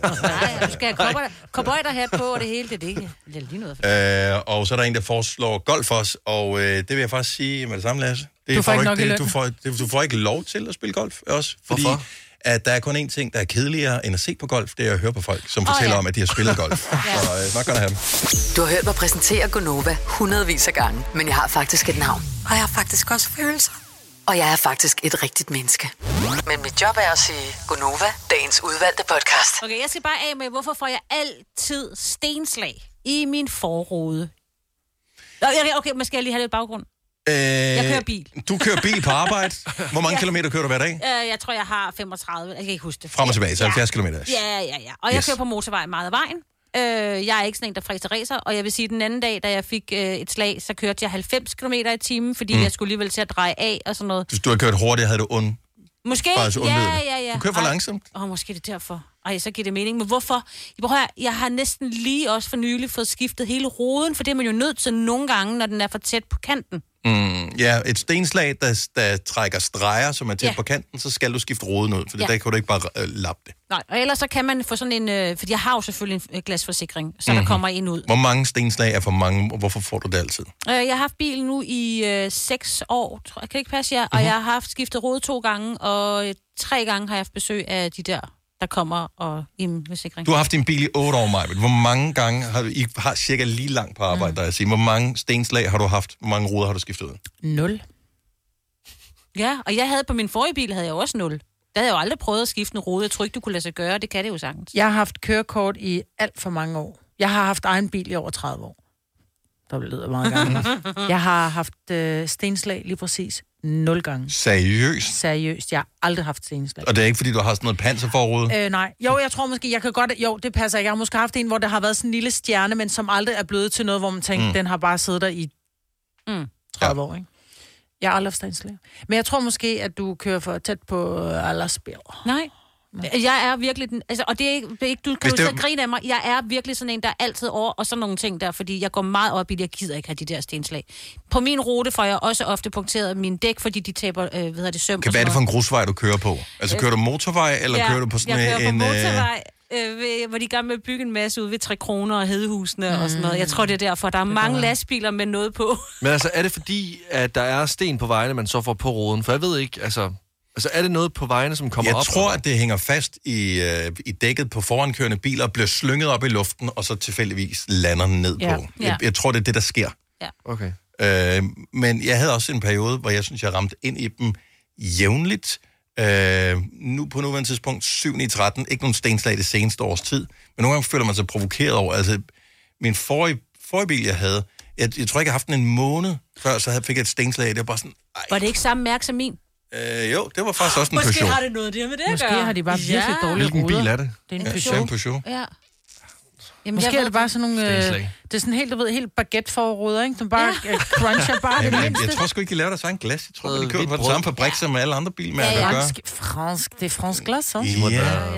C: Du skal have cowboy- cowboyderhat på og det hele. Det er det ikke. Det er lige noget.
A: Øh, og så er der en, der foreslår golf også, og øh, det vil jeg faktisk sige med det samme, Lasse. Det
D: Du får ikke nok i
A: ikke, det,
D: løn.
A: du, får, det, du får ikke lov til at spille golf også, fordi
D: Hvorfor?
A: at der er kun én ting, der er kedeligere end at se på golf, det er at høre på folk, som
E: Åh,
A: fortæller
E: ja.
A: om, at de har spillet golf. Så øh, nok godt at have dem.
E: Du har hørt mig præsentere Gonova hundredvis af gange, men jeg har faktisk et navn. Og jeg har faktisk også følelser. Og jeg er faktisk et rigtigt menneske. Men mit job er at sige Gonova, dagens udvalgte podcast.
C: Okay, jeg skal bare af med, hvorfor får jeg altid stenslag i min forrude? Nå, okay, Okay, man skal jeg lige have lidt baggrund.
A: Øh,
C: Jeg kører bil.
A: Du kører bil på arbejde. Hvor mange
C: Ja.
A: ja. kilometer kører du hver dag?
C: Øh, jeg tror, jeg har 35. Jeg kan ikke huske det.
A: Frem og tilbage, så 70 kilometer.
C: Ja, ja, ja. Og jeg
A: Yes.
C: kører på motorvej meget af vejen. Øh, jeg er ikke sådan en, der fræser racer, og jeg vil sige, at den anden dag, da jeg fik øh, et slag, så kørte jeg 90 km i timen, fordi
A: Mm.
C: mm. jeg skulle alligevel til at dreje af og sådan noget.
A: Hvis du havde kørt hurtigt, havde du ond.
C: Måske.
A: Bare så undlede
C: ja,
A: det.
C: ja, ja.
A: Du kører for
C: Ej.
A: langsomt.
C: Åh, oh, måske er det derfor. Ej, så giver det mening. Men hvorfor? I prøver, jeg, jeg har næsten lige også for nylig fået skiftet hele roden, for det er man jo nødt til nogle gange, når den er for tæt på kanten.
A: Mm, ja, et stenslag, der, der trækker streger, som er tæt
C: Ja.
A: ja. på kanten, så skal du skifte roden ud, for
C: Ja.
A: ja. der kan du ikke bare øh, lappe det.
C: Nej, og ellers så kan man få sådan en... Øh, fordi jeg har jo selvfølgelig en øh, glasforsikring, så mm-hmm. der
A: Mhm.
C: kommer en ud.
A: Hvor mange stenslag er for mange, og hvorfor får du det altid?
C: Øh, jeg har haft bilen nu i øh, 6 år, tror jeg. Kan det ikke passe jer? Og
A: Mhm.
C: jeg har haft skiftet rode to gange, og øh, tre gange har jeg haft besøg af de der, der kommer og i min forsikring.
A: Du har haft din bil i 8 år, Maja. Hvor mange gange har du... I har cirka lige langt på
C: Mm.
A: arbejde, der er at sige. Hvor mange stenslag har du haft? Hvor mange ruder har du skiftet ud?
B: Nul.
C: Ja, og jeg havde på min forrige bil, havde jeg også nul. Der havde jeg jo aldrig prøvet at skifte en rode. Jeg tror ikke, du kunne lade sig gøre. Det kan det jo sagtens.
B: Jeg har haft kørekort i alt for mange år. Jeg har haft egen bil i over 30 år. Der lyder meget gammel. jeg har haft øh, stenslag lige præcis 0 gange.
A: Seriøst?
B: Seriøst, jeg har aldrig haft stenslag.
A: Og det er ikke, fordi du har sådan noget panserforrude?
B: Øh, nej. Jo, jeg tror måske, jeg kan godt... Jo, det passer ikke. Jeg har måske haft en, hvor der har været sådan en lille stjerne, men som aldrig er blevet til noget, hvor man tænker, mm.
A: Mm.
B: den har bare siddet der i 30 ja. år, ikke? Jeg har aldrig haft stenslag. Men jeg tror måske, at du kører for tæt på øh, aldersspil.
C: Nej. Øh, Jeg er virkelig den, altså, og det er ikke, det er ikke du kan
B: Hvis
C: jo
B: det-
C: sidde og grine af mig, jeg er virkelig sådan en, der er altid over, og sådan nogle ting der, fordi jeg går meget op i det, jeg gider ikke have de der stenslag. På min rute får jeg også ofte punkteret min dæk, fordi de taber, øh, hvad hedder det, søm.
A: Kan, hvad er det for en grusvej, du kører på? Altså,
C: Øh,
A: kører du motorvej, eller kører du på sådan
C: jeg kører
A: en...
C: på
A: øh,
C: motorvej, øh, ved, hvor de er i gang med at bygge en masse ude ved Tre Kroner og Hedehusene mm. og sådan noget. Jeg tror, det er derfor, der er mange lastbiler med noget på.
D: Men altså, er det fordi, at der er sten på vejene, man så får på roden? For jeg ved ikke, altså... Altså, er det noget på vejene, som kommer
A: Jeg
D: op?
A: tror, at det hænger fast i, øh, i dækket på forankørende biler, bliver slynget op i luften, og så tilfældigvis lander ned
C: Ja.
A: på.
C: Ja.
A: Jeg, jeg tror, det er det, der sker.
C: Ja.
D: Okay.
A: Øh, men jeg havde også en periode, hvor jeg synes, jeg ramte ind i dem jævnligt. Øh, nu på nuværende tidspunkt, 7 i 13, ikke nogen stenslag det seneste års tid. Men nogle gange føler man sig provokeret over, altså min forrige, forrige bil, jeg havde, jeg, jeg tror ikke, jeg har haft den en måned før, så havde- fik jeg et stenslag. Det var bare sådan,
C: Var det ikke samme mærke som min?
A: øh, jo, det var faktisk også en
C: Måske
A: Peugeot.
C: har det noget det med det at
B: Måske
C: gøre.
B: har de bare virkelig dårlige
A: Hvilken bil
B: ruder.
A: er det?
B: Det er en
A: Ja,
B: Peugeot.
A: det er en Peugeot.
C: Ja.
B: Jamen, Måske er det bare sådan nogle... Øh,
A: Stenslag.
B: det er sådan helt, du ved, helt baguette forruder, ikke? Som bare ja. cruncher bare det
A: Jamen, jeg,
B: mindste.
A: jeg tror sgu ikke, de laver deres egen glas. Jeg tror, de køber
D: hvidt
A: fra den
D: brød.
A: samme fabrik, som alle andre bilmærker
B: ja,
A: gør.
B: fransk, fransk, det er fransk glas, så.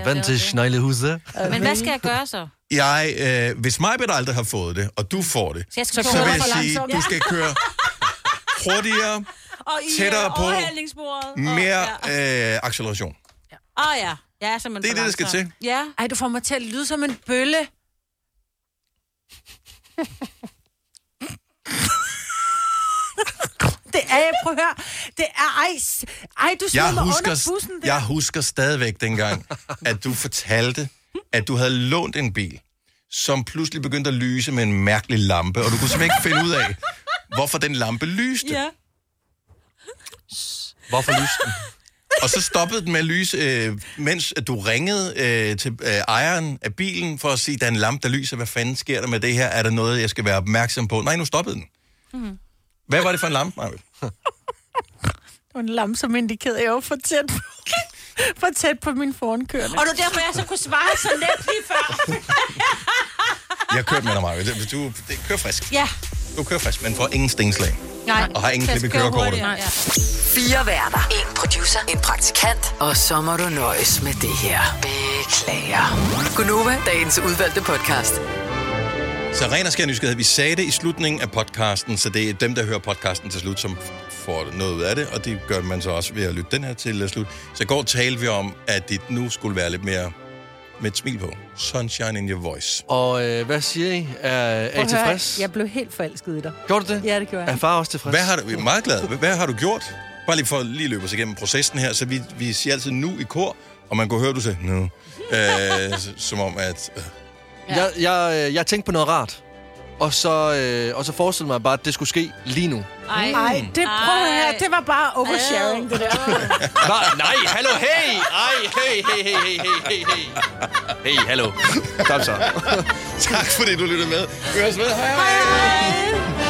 D: vand til Schneidehuse.
A: Øh,
C: Men hvad skal jeg gøre så?
A: Jeg, øh, hvis Majbet aldrig har fået det, og du får det,
C: Så jeg skal
A: så,
C: køre
A: vil jeg
C: for
A: sige,
C: langsomt.
A: du skal køre hurtigere,
C: Og i
A: Tættere på.
C: overhandlingsbordet. Og-
A: mere
C: ja.
A: øh, acceleration.
C: Åh oh, ja, jeg er simpelthen
A: Det er
C: for
A: det, der skal
C: langsom. Ja.
B: Ej, du får mig til at lyde som en bølle. det er jeg, prøv at høre. Det er, ej, s- ej du smider
A: Jeg
B: mig
A: husker,
B: under bussen der.
A: jeg husker stadigvæk dengang, at du fortalte, at du havde lånt en bil, som pludselig begyndte at lyse med en mærkelig lampe, og du kunne simpelthen ikke finde ud af, hvorfor den lampe lyste.
C: Ja.
A: Hvorfor lyste den? Og så stoppede den med at lyse, øh, mens at du ringede øh, til øh, ejeren af bilen for at sige, der er en lampe, der lyser. Hvad fanden sker der med det her? Er der noget, jeg skal være opmærksom på? Nej, nu stoppede den.
B: Mhm.
A: Hvad var det for en lampe? Nej,
B: Det var en lam, som indikerede, at jeg var for tæt på, for tæt på min forankørende.
C: Og det var derfor, jeg så kunne svare så nemt lige før.
A: jeg kørte med dig, Maja. Det- Du det, kører frisk.
C: Ja.
A: Du kører frisk, men får ingen stenslag.
C: Nej.
A: Og har ingen klip i kørekortet.
E: Fire værter. En producer. En praktikant. Og så må du nøjes med det her. Beklager. Gunova, dagens udvalgte podcast.
A: Så ren og skær nysgerrighed. Vi sagde det i slutningen af podcasten, så det er dem, der hører podcasten til slut, som får noget ud af det, og det gør man så også ved at lytte den her til øh, slut. Så i går talte vi om, at det nu skulle være lidt mere med et smil på. Sunshine in your voice.
D: Og øh, hvad siger I? Er, er I
A: Prøv at høre,
D: tilfreds?
A: jeg-
F: Jeg blev helt forelsket i dig.
D: Gjorde du det?
F: Ja, det gjorde jeg.
D: Er far også tilfreds?
A: Hvad har du, vi er meget glad. Hvad- Hvad har du gjort? Bare lige for at lige løbe os igennem processen her, så vi, vi siger altid nu i kor, og man kunne høre, du sagde nu. Øh, s- som om, at... Øh,
D: Ja. Jeg, jeg, øh, jeg tænkte på noget rart, og så, øh, og så forestillede mig bare, at det skulle ske lige nu.
B: Ej, Mm. Ej det prøv at høre, det var bare oversharing, det der.
D: Nej, nej, hallo, hey! Ej, hey, hey, hey, hey, hey, hey, hey. Hey, hallo. Stop så.
A: tak fordi du lyttede med. Vi høres ved. Hej, hej.
C: hej.